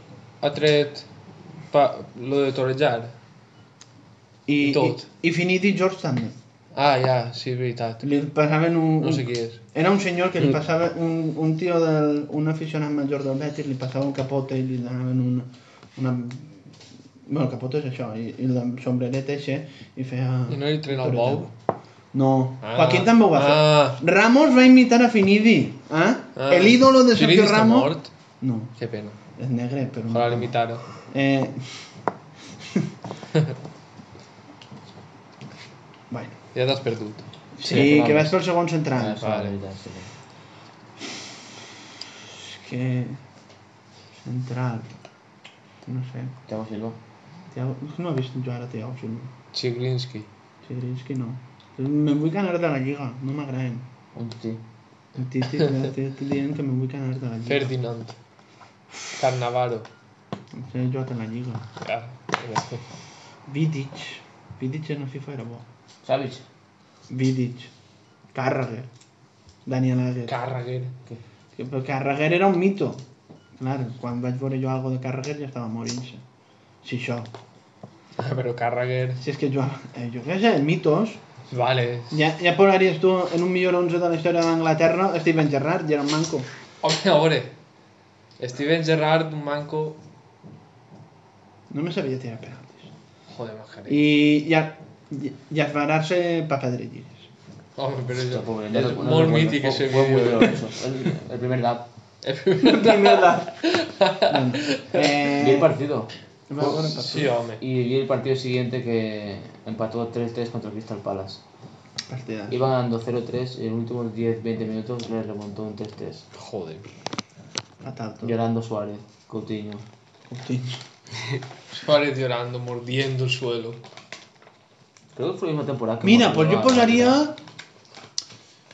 Speaker 2: ha tret pa, lo de torejar.
Speaker 1: I,
Speaker 2: I tot.
Speaker 1: I, i Finiti George també.
Speaker 2: Ah, ja, sí, és veritat.
Speaker 1: Li passaven un...
Speaker 2: No sé qui Mm. és.
Speaker 1: Era un senyor que li passava un, un tio del, un aficionat major del Betis, li passava un capote i li donaven una... una... Bueno, capote és això, i, i la sombrereta eixe, i feia...
Speaker 2: I no li tren el bou?
Speaker 1: No,
Speaker 2: Ah.
Speaker 1: Joaquín també ho va fer.
Speaker 2: Ah.
Speaker 1: Ramos va imitar a Finidi, eh?
Speaker 2: Ah.
Speaker 1: El ídolo de
Speaker 2: Finidi
Speaker 1: Sergio
Speaker 2: està
Speaker 1: Ramos...
Speaker 2: mort?
Speaker 1: No,
Speaker 2: Que pena.
Speaker 1: és negre, però...
Speaker 2: Ojalá limitara.
Speaker 1: Eh... bueno.
Speaker 2: Ja t'has perdut.
Speaker 1: Sí,
Speaker 3: Sí,
Speaker 1: que
Speaker 3: vamos.
Speaker 1: vas pel segon central.
Speaker 3: Ah,
Speaker 2: vale.
Speaker 3: sí, sí, sí.
Speaker 1: que central no sé
Speaker 3: Thiago Silva.
Speaker 1: Tiago... no he vist jo ara Tiago Silva
Speaker 2: Chiglinski.
Speaker 1: Sigrinski no me'n vull canar de la lliga no m'agraden
Speaker 3: Un sí.
Speaker 1: El Titi estic dient que me'n vull canar de la lliga
Speaker 2: Ferdinand. Carnavaro.
Speaker 1: em sé jugat a la lliga
Speaker 2: Ja.
Speaker 1: Vidic Vidic en la FIFA era bo
Speaker 3: Savic.
Speaker 1: Vidic Carragher Daniel Agger
Speaker 2: Carragher.
Speaker 1: Que- però Carragher era un mito clar, quan vaig veure jo algo de Carragher ja estava morint-se si això,
Speaker 2: Ah, Però Carragher...
Speaker 1: si és que jo, eh, jo què sé, mitos
Speaker 2: Vale.
Speaker 1: Ja, ja posaries tu en un millor 11 de la història d'Anglaterra Steven Gerrard, Gerard Manco.
Speaker 2: Home, a veure. Steven Gerrard, un manco...
Speaker 1: No me sabia tirar penaltis.
Speaker 2: Joder, majaré.
Speaker 1: I ja, ja, ja es va anar-se papadrellis.
Speaker 2: Home, però és,
Speaker 3: Hostia, pobre, pues, no
Speaker 2: és
Speaker 3: recuerdo- no
Speaker 2: molt
Speaker 3: recuerdo.
Speaker 2: mític,
Speaker 3: Fue-
Speaker 2: ese
Speaker 3: Fue muy
Speaker 2: vídeo.
Speaker 3: doloroso. El, el primer lap.
Speaker 1: Primer la... Bueno,
Speaker 3: Bien
Speaker 1: eh,
Speaker 3: partido.
Speaker 1: Va, bueno, empató.
Speaker 2: Sí, home.
Speaker 3: Y vi el partido siguiente que empató 3-3 contra el Crystal Palace.
Speaker 1: Partidas.
Speaker 3: Iba ganando 0-3 y en los últimos 10-20 minutos le remontó un 3-3.
Speaker 2: Joder.
Speaker 1: Fatal todo.
Speaker 3: Llorando Suárez, Coutinho.
Speaker 1: Coutinho.
Speaker 2: Suárez llorando, mordiendo el suelo.
Speaker 3: Creo que fue la misma temporada que
Speaker 1: Mira,
Speaker 3: hemos
Speaker 1: pues yo
Speaker 3: jugado,
Speaker 1: posaria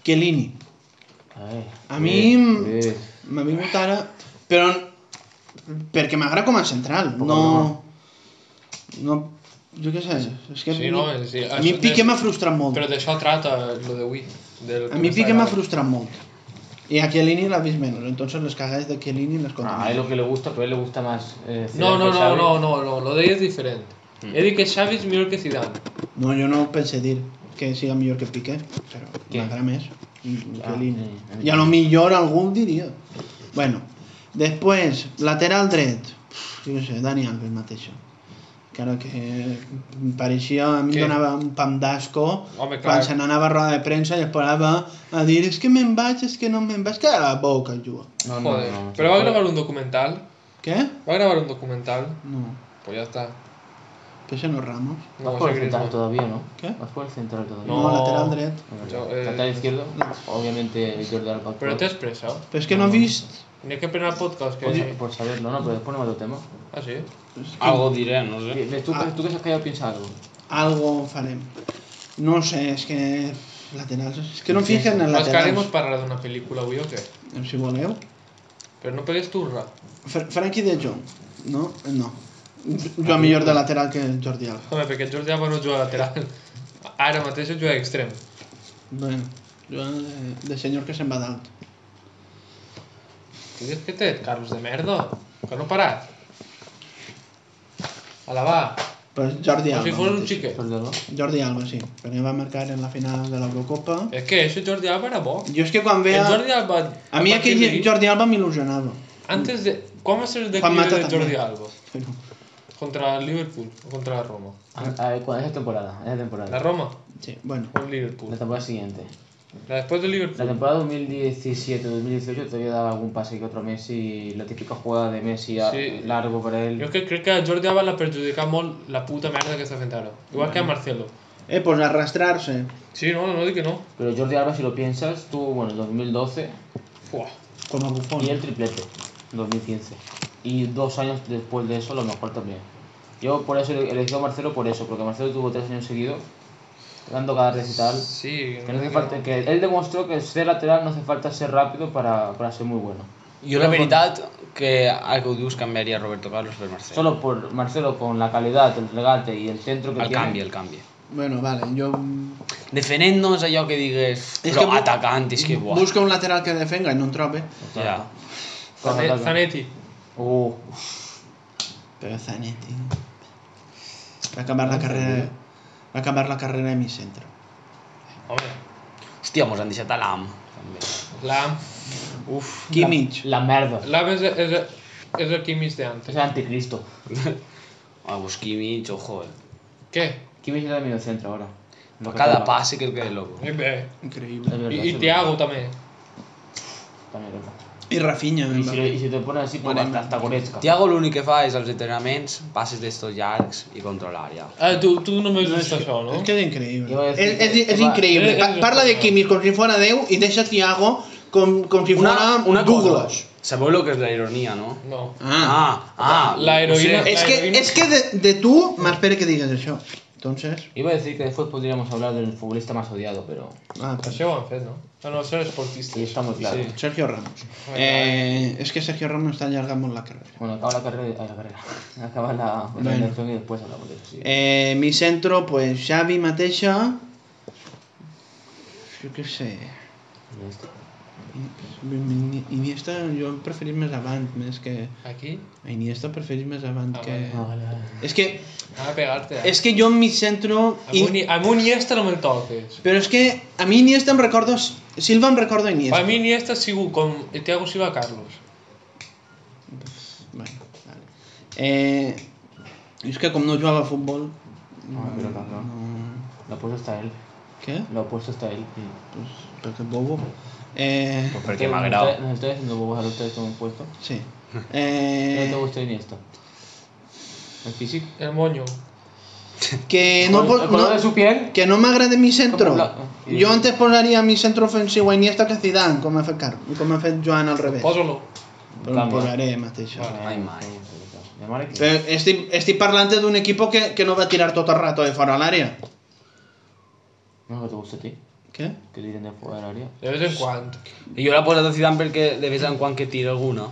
Speaker 1: Chiellini.
Speaker 3: Ai,
Speaker 1: A
Speaker 3: bé,
Speaker 1: mi-
Speaker 3: bé.
Speaker 1: M'ha vingut ara, però perquè m'agrada com a central,
Speaker 3: Poc
Speaker 1: no... No... Jo què sé, és que
Speaker 2: Sí, no, és- sí,
Speaker 1: a mi
Speaker 2: això
Speaker 1: Piqué
Speaker 2: de-
Speaker 1: m'ha frustrat molt.
Speaker 2: Però d'això trata lo de Wii. Del
Speaker 1: A mi Piqué m'ha frustrat molt. I a Chiellini l'ha vist menys, entonces les cagades de Chiellini les
Speaker 3: Ah, a él
Speaker 1: contamina.
Speaker 3: lo que le gusta, pero a él le gusta más. eh,
Speaker 2: No,
Speaker 3: Zidane
Speaker 2: no,
Speaker 3: que
Speaker 2: no,
Speaker 3: Xavi. Mm.
Speaker 2: no, no, no, lo de ell és diferent. He dit que Xavi és millor que Zidane.
Speaker 1: No, jo no pensé dir que siga millor que Piqué, però m'agrada més. Chiellini.
Speaker 3: Ah, sí, a mi
Speaker 1: I a lo millor algú ho diria. Bueno, després, lateral dret. Uf, Jo què sé, Dani Alves mateix. Cara que em pareixia, a mi em
Speaker 2: Què?
Speaker 1: donava un pam d'asco
Speaker 2: Home, clar.
Speaker 1: quan se n'anava a roda de premsa i esperava a dir és que me'n vaig, és que no me'n vaig, que a la boca juga.
Speaker 3: No, no,
Speaker 2: Joder.
Speaker 3: no, no.
Speaker 2: Però va gravar un documental.
Speaker 1: Què?
Speaker 2: Va gravar un documental.
Speaker 1: No,
Speaker 2: Pues ya está.
Speaker 1: que se no Ramos.
Speaker 2: No,
Speaker 3: Vas por el central
Speaker 2: Griezmann.
Speaker 3: todavía, ¿no?
Speaker 1: ¿Qué?
Speaker 3: Vas por el central todavía.
Speaker 1: No,
Speaker 2: No.
Speaker 1: lateral dret.
Speaker 2: Yo, eh,
Speaker 3: Central izquierdo, obviamente Jordi Alba. por-
Speaker 2: Pero te has expresado.
Speaker 1: Però és que no he vist...
Speaker 2: Ni que pena el podcast que...
Speaker 3: por, por saberlo, no, pero después no me lo temo.
Speaker 2: Ah, sí?
Speaker 4: Algo diré, no sé.
Speaker 3: Eh, ¿Tú,
Speaker 2: Ah.
Speaker 3: tú que se has callado piensa algo.
Speaker 1: Algo farem. No ho sé, és que... Laterals... És que no fiquen en
Speaker 2: Nos
Speaker 1: laterals.
Speaker 2: queremos parar de una película, güey, o qué?
Speaker 1: Si voleu.
Speaker 2: Pero no pegues turra.
Speaker 1: Fr Frankie de Jong. No? No. Jo millor de lateral que el Jordi Alba.
Speaker 2: Home, perquè el Jordi Alba no juga lateral. Ah, Ara mateix juga extrem.
Speaker 1: Bueno, jo de, de senyor que se'n va dalt.
Speaker 2: Què dius que té? Carlos de merda. Que no ha parat. A la va.
Speaker 1: Però és Pues Jordi
Speaker 2: Com
Speaker 1: Alba.
Speaker 2: Pues si fos un
Speaker 1: mateix.
Speaker 2: xiquet.
Speaker 3: Jordi Alba.
Speaker 1: Jordi Alba, sí. Perquè va marcar en la final de l'Eurocopa.
Speaker 2: És que això Jordi Alba era bo.
Speaker 1: Jo és que quan
Speaker 2: El
Speaker 1: veia...
Speaker 2: Jordi Alba...
Speaker 1: A mi
Speaker 2: partir
Speaker 1: aquell
Speaker 2: d'ahí,
Speaker 1: Jordi Alba m'il·lusionava.
Speaker 2: Antes de... Com va ser el
Speaker 1: Juan
Speaker 2: declive
Speaker 1: Mata
Speaker 2: de
Speaker 1: també.
Speaker 2: Jordi Alba?
Speaker 1: Però...
Speaker 2: Contra el Liverpool o contra la Roma?
Speaker 3: A, a, ¿Cuál es la temporada? Es la temporada.
Speaker 2: Ah. La Roma
Speaker 1: Sí, bueno.
Speaker 2: o el Liverpool?
Speaker 3: La temporada siguiente.
Speaker 2: La después del
Speaker 3: La
Speaker 2: Liverpool.
Speaker 3: temporada 2017-2018 todavía daba algún pase que otro Messi, la típica jugada de Messi a-
Speaker 2: Sí.
Speaker 3: largo para él.
Speaker 2: Jo és que crec que a Jordi Alba l'ha perjudicat molt la puta merda que està fent ara. Igual que a Marcelo.
Speaker 1: Eh, pues arrastrar-se.
Speaker 2: Sí, no, no dic que no.
Speaker 3: Pero Jordi Alba, si lo piensas, tuvo, bueno, 2012
Speaker 2: Fuà.
Speaker 1: Com a bufón.
Speaker 3: y el triplete, 2015. Y dos años después de eso, a lo mejor también. Yo por eso elegí a Marcelo, por eso, porque Marcelo tuvo tres años seguidos, dando cada recital.
Speaker 2: Sí,
Speaker 3: Que, no hace falta, que él demostró que ser lateral no hace falta ser rápido para, para ser muy bueno.
Speaker 4: Jo la veritat que el que ho dius canviaria Roberto Carlos per Marcelo.
Speaker 3: Solo por Marcelo, con la calidad, el regate y el centro que
Speaker 4: El
Speaker 3: tiene.
Speaker 4: canvi, el canvi.
Speaker 1: Bueno, vale, jo...
Speaker 4: Defendent no és allò que digues,
Speaker 1: És
Speaker 4: però
Speaker 1: que bu-
Speaker 4: atacant, és que buah.
Speaker 1: Busca un lateral que defenga i no en trobe.
Speaker 4: Ja.
Speaker 3: Con
Speaker 2: Zane-
Speaker 3: ataque.
Speaker 2: Zanetti.
Speaker 3: Uh,
Speaker 1: Però Zanetti... Va acabar la carrera... Va acabar la carrera de mi centre.
Speaker 2: Home,
Speaker 4: Hòstia, mos han deixat a l'AM. També.
Speaker 2: l'AM.
Speaker 1: Uf, Kimmich.
Speaker 3: la merda.
Speaker 2: L'AM és, és, és el Kimmich de antes.
Speaker 3: Es el anticristo.
Speaker 4: A buscar mig, ojo, eh.
Speaker 2: Què?
Speaker 3: Kimmich era de medio centro ahora. Lo que
Speaker 4: Cada
Speaker 3: toca.
Speaker 4: passe que el quede loco.
Speaker 2: Eh, bé.
Speaker 1: Increïble.
Speaker 3: Es verdad,
Speaker 2: I,
Speaker 3: es
Speaker 2: i
Speaker 3: verdad.
Speaker 2: Thiago també.
Speaker 3: También es verdad.
Speaker 1: I Rafinha.
Speaker 3: Y si, lo- y si te pones así, pues hasta, hasta Goretzka.
Speaker 4: Tiago l'únic que fa és els entrenaments, passes d'estos llargs i controlar, ja.
Speaker 2: Ah, tu, tu només no, dius això, no?
Speaker 1: És que és increïble.
Speaker 3: Jo vaig dir
Speaker 1: És, és,
Speaker 3: que-
Speaker 1: és
Speaker 3: va,
Speaker 1: increïble.
Speaker 2: és-
Speaker 1: Pa-
Speaker 2: és-
Speaker 1: Parla de Kimmich com si fora Déu i deixa Thiago com, com si fora Douglas.
Speaker 4: Sabeu el que és la ironia, no?
Speaker 2: No.
Speaker 1: Ah.
Speaker 4: Ah, ah.
Speaker 2: La heroïna-
Speaker 1: És que,
Speaker 2: heroïna-
Speaker 1: és que de, de tu m'espero que digues això. Entonces...
Speaker 3: Iba a decir que después podríamos hablar del futbolista más odiado, pero
Speaker 1: Ah, pues
Speaker 2: Això ho han fet, no? Ah, no, ser esportista.
Speaker 3: sí, está muy claro.
Speaker 4: Sí.
Speaker 1: Sergio Ramos. Eh, és que Sergio Ramos està allargant molt la carrera.
Speaker 3: Bueno, acaba la carrera, ay, la carrera. acaba la la eliminación y después hablamos de eso. Sí.
Speaker 1: Eh, mi centro, pues Xavi mateixa... Jo què sé...
Speaker 3: Y esto.
Speaker 1: Iniesta jo el preferís més avant, més que...
Speaker 2: Aquí?
Speaker 1: A Iniesta el preferís més avant
Speaker 2: Ah,
Speaker 1: que...
Speaker 3: Ah, vale, vale.
Speaker 1: És que,
Speaker 2: Van a pegar-te. Eh?
Speaker 1: és que jo en mi centro...
Speaker 2: Amb, un, i- amb un Iniesta no me'l toques.
Speaker 1: Però és que a mi Iniesta em recordo... Silva em recordo Iniesta.
Speaker 2: Per mi Iniesta ha sigut com el Thiago Silva Carlos.
Speaker 1: Bueno, vale. Eh, és que com no jugava a futbol...
Speaker 3: Ah, mira, cabrón.
Speaker 1: No...
Speaker 3: Lo opuesto está él.
Speaker 1: Què?
Speaker 3: Lo opuesto está él.
Speaker 1: Pues, perquè bobo. Eh,
Speaker 4: Pues perquè
Speaker 3: Ustedes-
Speaker 4: m'agrada.
Speaker 3: Nos estoy haciendo bobos a los tres que hemos puesto.
Speaker 1: sí.
Speaker 3: No
Speaker 1: Eh,
Speaker 3: te gusta Iniesta. El físic.
Speaker 2: El moño.
Speaker 1: Que Eh, no,
Speaker 3: el,
Speaker 1: pot-
Speaker 3: el color
Speaker 1: no-
Speaker 3: de su piel.
Speaker 1: que no m'agrada mi centro.
Speaker 3: Com la- i-
Speaker 1: Jo antes posaria mi centro ofensiu a Iniesta que a Zidane, com ha fet, Car com ha fet Joan al revés.
Speaker 3: Pues,
Speaker 2: Posa-lo.
Speaker 1: Però em posaré mateix.
Speaker 4: Ai, mai.
Speaker 3: Mi mare que...
Speaker 1: Però estic, estic parlant d'un equip que, que no va tirar tot el rato de fora a l'àrea.
Speaker 3: No, que te gusta a ti.
Speaker 1: Què?
Speaker 3: Que tiren de fuera del área.
Speaker 2: De vez en cuando.
Speaker 4: I jo l'he posat a Zidane perquè de vez en quan que tira alguna.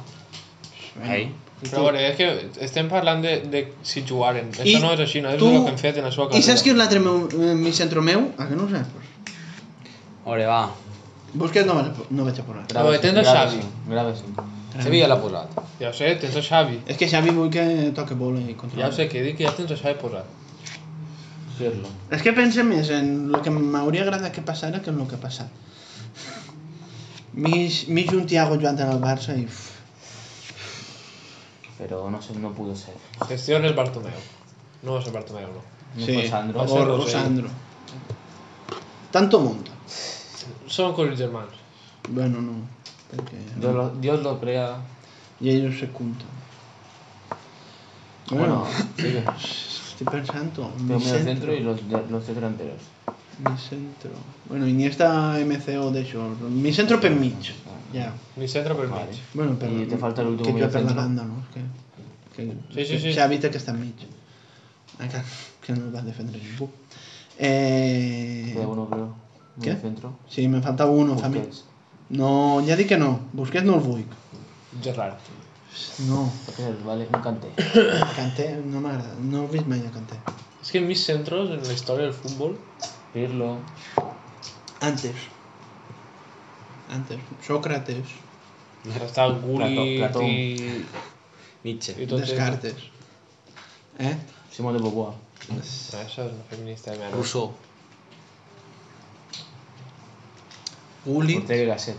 Speaker 4: Ei.
Speaker 2: Però a veure, és que estem parlant de, de si jugaren.
Speaker 1: I
Speaker 2: Això no és així, no és
Speaker 1: tu-
Speaker 2: el que hem fet en la seva
Speaker 1: I saps qui
Speaker 2: carrera.
Speaker 1: és l'altre meu, eh, mi centro meu? Ah, que no ho saps?
Speaker 4: Ore, va.
Speaker 1: Busquets no, vaig a- no vaig a posar.
Speaker 2: A veure, tens el
Speaker 3: Grave
Speaker 2: Xavi.
Speaker 3: sí, Grave sí.
Speaker 4: Sevilla l'ha posat.
Speaker 2: Ja ho sé, tens el Xavi.
Speaker 1: És que Xavi vull que toque bola i controla.
Speaker 2: Ja ho sé, que dic que ja tens el Xavi posat.
Speaker 3: Pirlo.
Speaker 1: És que pense més en el que m'hauria agradat que passara que en el que ha passat. Mig, mig un Tiago Joan al Barça i... uf,
Speaker 3: Pero no sé, no pudo ser.
Speaker 2: Gestión es Bartomeu. No és el Bartomeu, no.
Speaker 3: No fue Sandro.
Speaker 1: O,
Speaker 2: ser
Speaker 1: o
Speaker 2: Rosell.
Speaker 1: Sandro. Tanto mundo.
Speaker 2: Són com els germans.
Speaker 1: Bueno, no. Perquè...
Speaker 3: Dios lo, Dios lo crea.
Speaker 1: I ells se compten. Bueno,
Speaker 3: Bueno, sigue.
Speaker 1: estic pensant-ho. Mi
Speaker 3: Veo medio centro
Speaker 1: centro.
Speaker 3: y los, los tres delanteros.
Speaker 1: Mi centro. Bueno, Iniesta, MCO, d'això. Mi centro per mig. Ja.
Speaker 2: Ni centre per mig.
Speaker 1: Bueno, per,
Speaker 3: I te falta l'últim
Speaker 1: Que jo per la
Speaker 3: mediocentro.
Speaker 1: banda, no? Que, que,
Speaker 2: Sí, sí, sí.
Speaker 1: Xavi té que està enmig. Encara que no el va defendre ningú. Eh...
Speaker 3: Queda uno, creo.
Speaker 1: ¿Qué?
Speaker 3: Medio centro.
Speaker 1: Sí, me falta uno, fa mi.
Speaker 3: Busquets.
Speaker 1: No, ja dic que no. Busquets no el vull.
Speaker 2: Gerrard.
Speaker 1: No,
Speaker 3: Busquets, Vale, un canté.
Speaker 1: Canté no m'agrada. No he vist mai a Canté.
Speaker 2: És que mis centros en la història del futbol
Speaker 3: Pirlo.
Speaker 1: Antes. Antes. Sócrates.
Speaker 2: està el Gullit
Speaker 3: Plató, Plató.
Speaker 2: i,
Speaker 4: Mitche.
Speaker 2: i tot això.
Speaker 1: Descartes. Eh?
Speaker 3: Simón de Boboa.
Speaker 2: No, Ah, això és una feminista de merda.
Speaker 4: Rousseau.
Speaker 1: Gullit.
Speaker 3: Ortega y Gasset.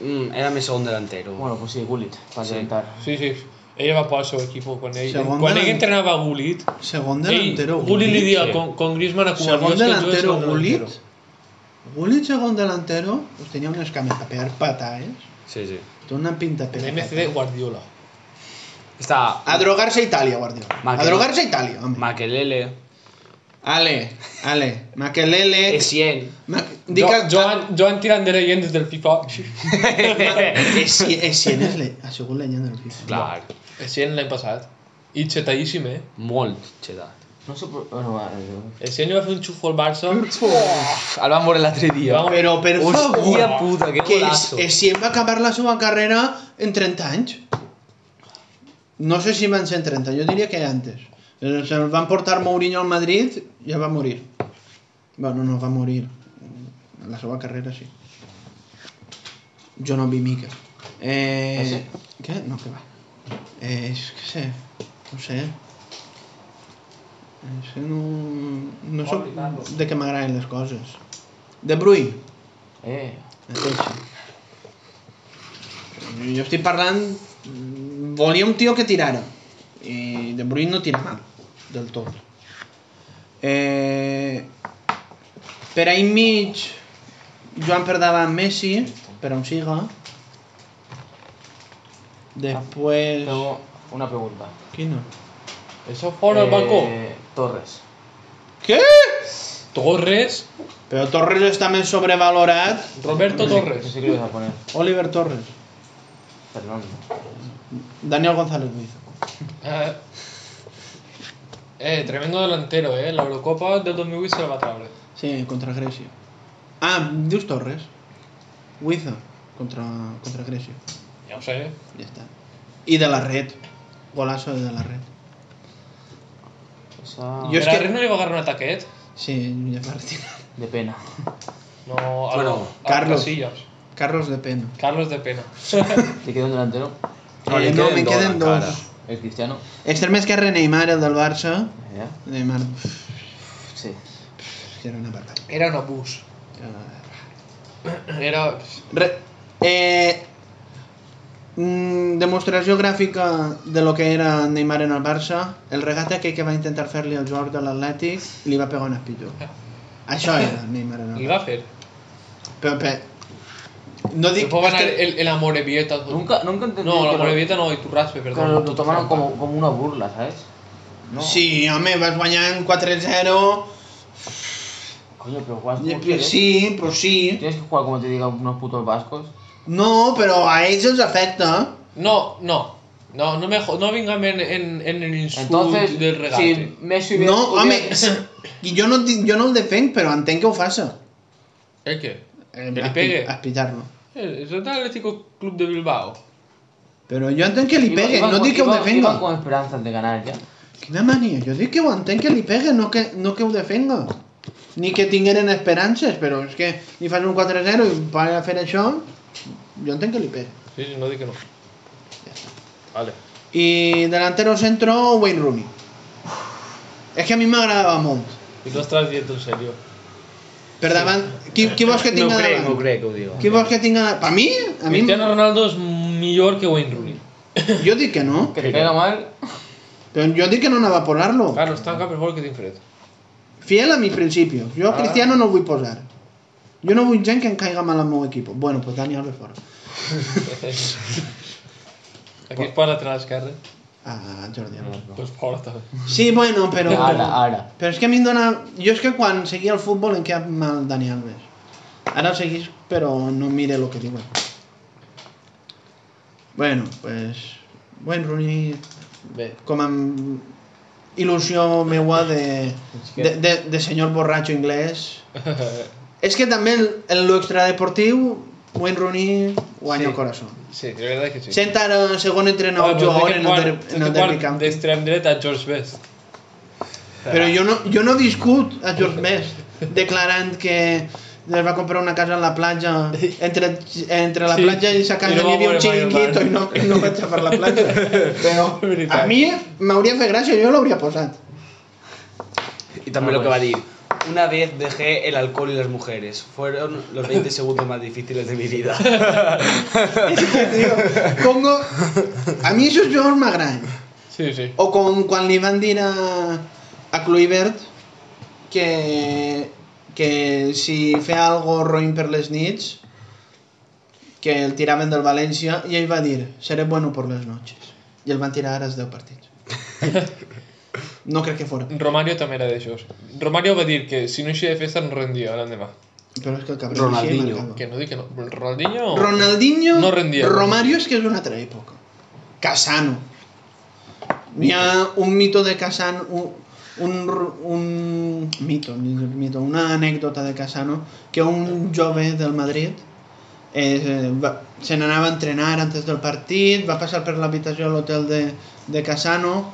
Speaker 4: Mm, era més segon delantero.
Speaker 3: Bueno, pues sí, Gullit. Para
Speaker 4: Sí.
Speaker 3: levantar.
Speaker 2: Sí, sí. Ella va posar el seu equip quan ell,
Speaker 1: Segon
Speaker 2: quan ell
Speaker 1: delan-
Speaker 2: entrenava a Gullit.
Speaker 1: Segon
Speaker 2: Ell,
Speaker 1: delantero.
Speaker 2: Gullit li dia
Speaker 3: sí.
Speaker 2: con, con Griezmann a Cuba.
Speaker 1: Segon delantero, Gullit. Gullit, segon delantero. Pues tenia unes cames a per patar, eh?
Speaker 4: Sí, sí.
Speaker 1: Té una pinta per
Speaker 2: MC
Speaker 1: patar.
Speaker 2: de Guardiola.
Speaker 4: Està
Speaker 1: A drogar-se a Itàlia, Guardiola.
Speaker 4: Maquelele.
Speaker 1: A drogar-se a Itàlia, home.
Speaker 4: Makelele,
Speaker 1: Ale, Ale, Maquelele...
Speaker 4: Essien,
Speaker 1: Ma... Dic
Speaker 2: Jo,
Speaker 1: que...
Speaker 2: Joan, Joan tirant de llegendes del FIFA.
Speaker 1: Essien, Essien és le... ha sigut leyenda del FIFA.
Speaker 4: clar,
Speaker 2: Essien l'any passat. I xetadíssim, eh?
Speaker 4: molt xedat.
Speaker 3: No sé por... Bueno, eh, vale.
Speaker 2: Essien li va fer un xufo al Barça.
Speaker 4: El vam veure l'altre dia.
Speaker 2: Vam-
Speaker 1: Però per
Speaker 4: Hòstia
Speaker 1: favor,
Speaker 4: puta, que
Speaker 1: que
Speaker 4: golazo.
Speaker 1: Essien va acabar la seva carrera en 30 anys. No sé si van ser en 30, jo diria que antes. Eh, Se'l van portar Mourinho al Madrid i ja va morir. Bueno, no va morir. La seva carrera sí. Jo no vi mica. Eh...
Speaker 3: Ah, sí?
Speaker 1: Què? No, que va. Eh, és que sé, no sé. És que no... No soc de que m'agraden les coses. De Bruyne,
Speaker 3: Eh.
Speaker 1: mateix. Jo estic parlant... mm, Volia un tio que tirara. I De Bruyne no tira mal, del tot. Eh... Per ahir mig, Joan per davant Messi, per on siga. Després...
Speaker 3: Tengo una pregunta.
Speaker 1: Quina?
Speaker 2: Això fora al balcó.
Speaker 3: Eh, Torres.
Speaker 1: Què?
Speaker 2: Torres.
Speaker 1: Però Torres està més sobrevalorat.
Speaker 2: Roberto
Speaker 3: No
Speaker 2: Torres.
Speaker 3: sé qué le vas a poner.
Speaker 1: Oliver Torres.
Speaker 3: Fernando.
Speaker 1: Daniel González Luis.
Speaker 2: Eh, eh, tremendo delantero, eh? L'Eurocopa del 2008 se la va treure.
Speaker 1: Sí, contra Grècia. Ah, dius Torres. Wiza contra, contra Grècia.
Speaker 2: Ja ho sé.
Speaker 1: Ja està. I de la red. Golazo de la red.
Speaker 3: Esa...
Speaker 1: Jo
Speaker 2: Jo
Speaker 1: és
Speaker 2: Gerard
Speaker 1: que-
Speaker 2: que... no li va agarrar un eh. ataquet?
Speaker 1: Sí, ja va retirar.
Speaker 3: De pena.
Speaker 2: No, a
Speaker 4: Bueno,
Speaker 2: a
Speaker 1: Carlos.
Speaker 2: Casillas.
Speaker 1: Carlos de Pena.
Speaker 2: Carlos de Pena.
Speaker 3: Te queda un delantero.
Speaker 4: No, li
Speaker 1: Eh, no,
Speaker 4: queden
Speaker 1: me
Speaker 4: dos
Speaker 1: queden
Speaker 4: encara.
Speaker 1: dos.
Speaker 3: El Cristiano.
Speaker 1: Extrem esquerre Neymar, el del Barça.
Speaker 3: Ya.
Speaker 1: Neymar, pff,
Speaker 3: Sí.
Speaker 1: que era una barbarie.
Speaker 2: Era un abús. Era...
Speaker 1: Re... Eh... mm, Demostració gràfica de lo que era Neymar en el Barça, el regate aquell que va intentar fer-li al jugador de l'Atlètic i li va pegar un espitó. Això era Neymar en el
Speaker 2: Li
Speaker 1: Barça.
Speaker 2: va fer.
Speaker 1: Però, però, No dic...
Speaker 2: Después van
Speaker 1: és
Speaker 2: el,
Speaker 1: que-
Speaker 2: el, el Amorebieta.
Speaker 3: Nunca, nunca entendí.
Speaker 2: No,
Speaker 3: que
Speaker 2: la
Speaker 3: lo-
Speaker 2: Amorebieta no, y tu raspe,
Speaker 3: que
Speaker 2: perdón.
Speaker 3: lo, lo tomaron como, como una burla, ¿sabes? No.
Speaker 1: Sí, home, vas guanyant 4-0...
Speaker 3: Coño, pero juegas como
Speaker 1: Sí,
Speaker 3: quieres.
Speaker 1: Sí, però sí.
Speaker 3: Tienes que jugar como te digan unos putos vascos.
Speaker 1: No, però a ells els afecta.
Speaker 2: No, no. No, no me jo- no vengan en, en, en el insulto
Speaker 3: Entonces,
Speaker 2: del regate.
Speaker 3: si Messi hubiera-
Speaker 1: No, home,
Speaker 3: hubiera-
Speaker 1: i jo no, et dic- jo no el defenc, però entenc que ho faça.
Speaker 2: ¿El qué?
Speaker 1: Eh,
Speaker 2: li
Speaker 1: espi-
Speaker 2: pegue.
Speaker 1: Espitar-lo.
Speaker 2: Eh, El, el Atlético Club de Bilbao.
Speaker 1: Però jo entenc que li
Speaker 3: iba-
Speaker 1: pegue,
Speaker 3: iba
Speaker 1: no
Speaker 3: con-
Speaker 1: dic que ho
Speaker 3: iba-
Speaker 1: defenga.
Speaker 3: iba con esperanzas de ganar ya.
Speaker 1: Quina mania, jo dic que ho entenc que li pegue, no que, no que ho defenga. Ni que tingueren esperances, però és que li fas un 4-0 i para fer això, jo entenc que li pegue.
Speaker 2: Sí, sí, no di que no. Vale.
Speaker 1: I delantero centro, Wayne Rooney. És que a mi m'agradava molt.
Speaker 2: Y tú estás diciendo en serio.
Speaker 1: Per davant, qui, qui vols que tinga
Speaker 4: No crec,
Speaker 1: davant?
Speaker 4: no crec que ho digo.
Speaker 1: Qui vols que tinga davant? Per mi? A mi?
Speaker 2: Cristiano Ronaldo es mejor que Wayne Rooney.
Speaker 1: Jo dic que no.
Speaker 3: Que te caiga mal.
Speaker 1: Però jo dic que no anava a posar-lo.
Speaker 2: Claro, está acá mejor que Tim Fred.
Speaker 1: Fiel a mis principios. Jo a
Speaker 2: Ah.
Speaker 1: Cristiano no ho vull posar. Jo no vull gent que em caiga mal al meu equip. Bueno, pues Dani Alves fora.
Speaker 2: Aquí es para lateral esquerra.
Speaker 1: Ah, Jordi Alves.
Speaker 2: Pues fora també.
Speaker 1: Sí, bueno, però...
Speaker 3: Mm. Ahora, ahora.
Speaker 1: Però és que a mi em dona... Jo és que quan seguia el futbol em quedava mal Dani Alves. Ara el seguís, però no mire el que diuen. Bueno, pues... Bueno, Rooney,
Speaker 2: Bé.
Speaker 1: com amb il·lusió meua de, de, de, de senyor borratxo anglès. És que també el, el lo extradeportiu, Wayne Rooney guanya
Speaker 2: Sí.
Speaker 1: el corazón.
Speaker 2: Sí, de verdad que sí.
Speaker 1: Sent ara segon entrenador jugador en el, der, en el derbi camp.
Speaker 2: D'extrem dret a George Best.
Speaker 1: Però jo no, jo no discut a George Best declarant que es va comprar una casa a la platja entre, entre la
Speaker 2: Sí.
Speaker 1: platja i sa
Speaker 2: I
Speaker 1: casa
Speaker 2: no
Speaker 1: no hi havia
Speaker 2: va
Speaker 1: un
Speaker 2: voler mai
Speaker 1: xiringuito
Speaker 2: jugar.
Speaker 1: i no, i no vaig agafar la platja
Speaker 2: Però,
Speaker 1: a mi m'hauria fet gràcia, jo l'hauria posat
Speaker 4: Y también lo que va a decir. Una vez dejé el alcohol y las mujeres. Fueron los 20 segundos más difíciles de mi vida.
Speaker 1: Tio, Congo a mi això jo m'agrada
Speaker 2: Sí, sí.
Speaker 1: o com quan li van dir a, a Kluivert que, que si feia algo roïn per les nits que el tiraven del València i ell va dir, seré bueno por les noches i el van tirar ara els 10 partits no crec que fora
Speaker 2: Romario també era d'aixòs. Romario va dir que si no eixia de festa no rendia l'endemà.
Speaker 1: però és que el cabrón
Speaker 4: Ronaldinho.
Speaker 1: així marcava.
Speaker 2: Que no dic que no. Ronaldinho...
Speaker 1: Ronaldinho,
Speaker 2: No rendia.
Speaker 1: Romario és que és d'una altra època Casano hi ha un mito de Casano un, un, r- un mito, ni un mito, una anècdota de Casano que un jove del Madrid eh, va, se n'anava a entrenar antes del partit va passar per l'habitació de l'hotel de, de Casano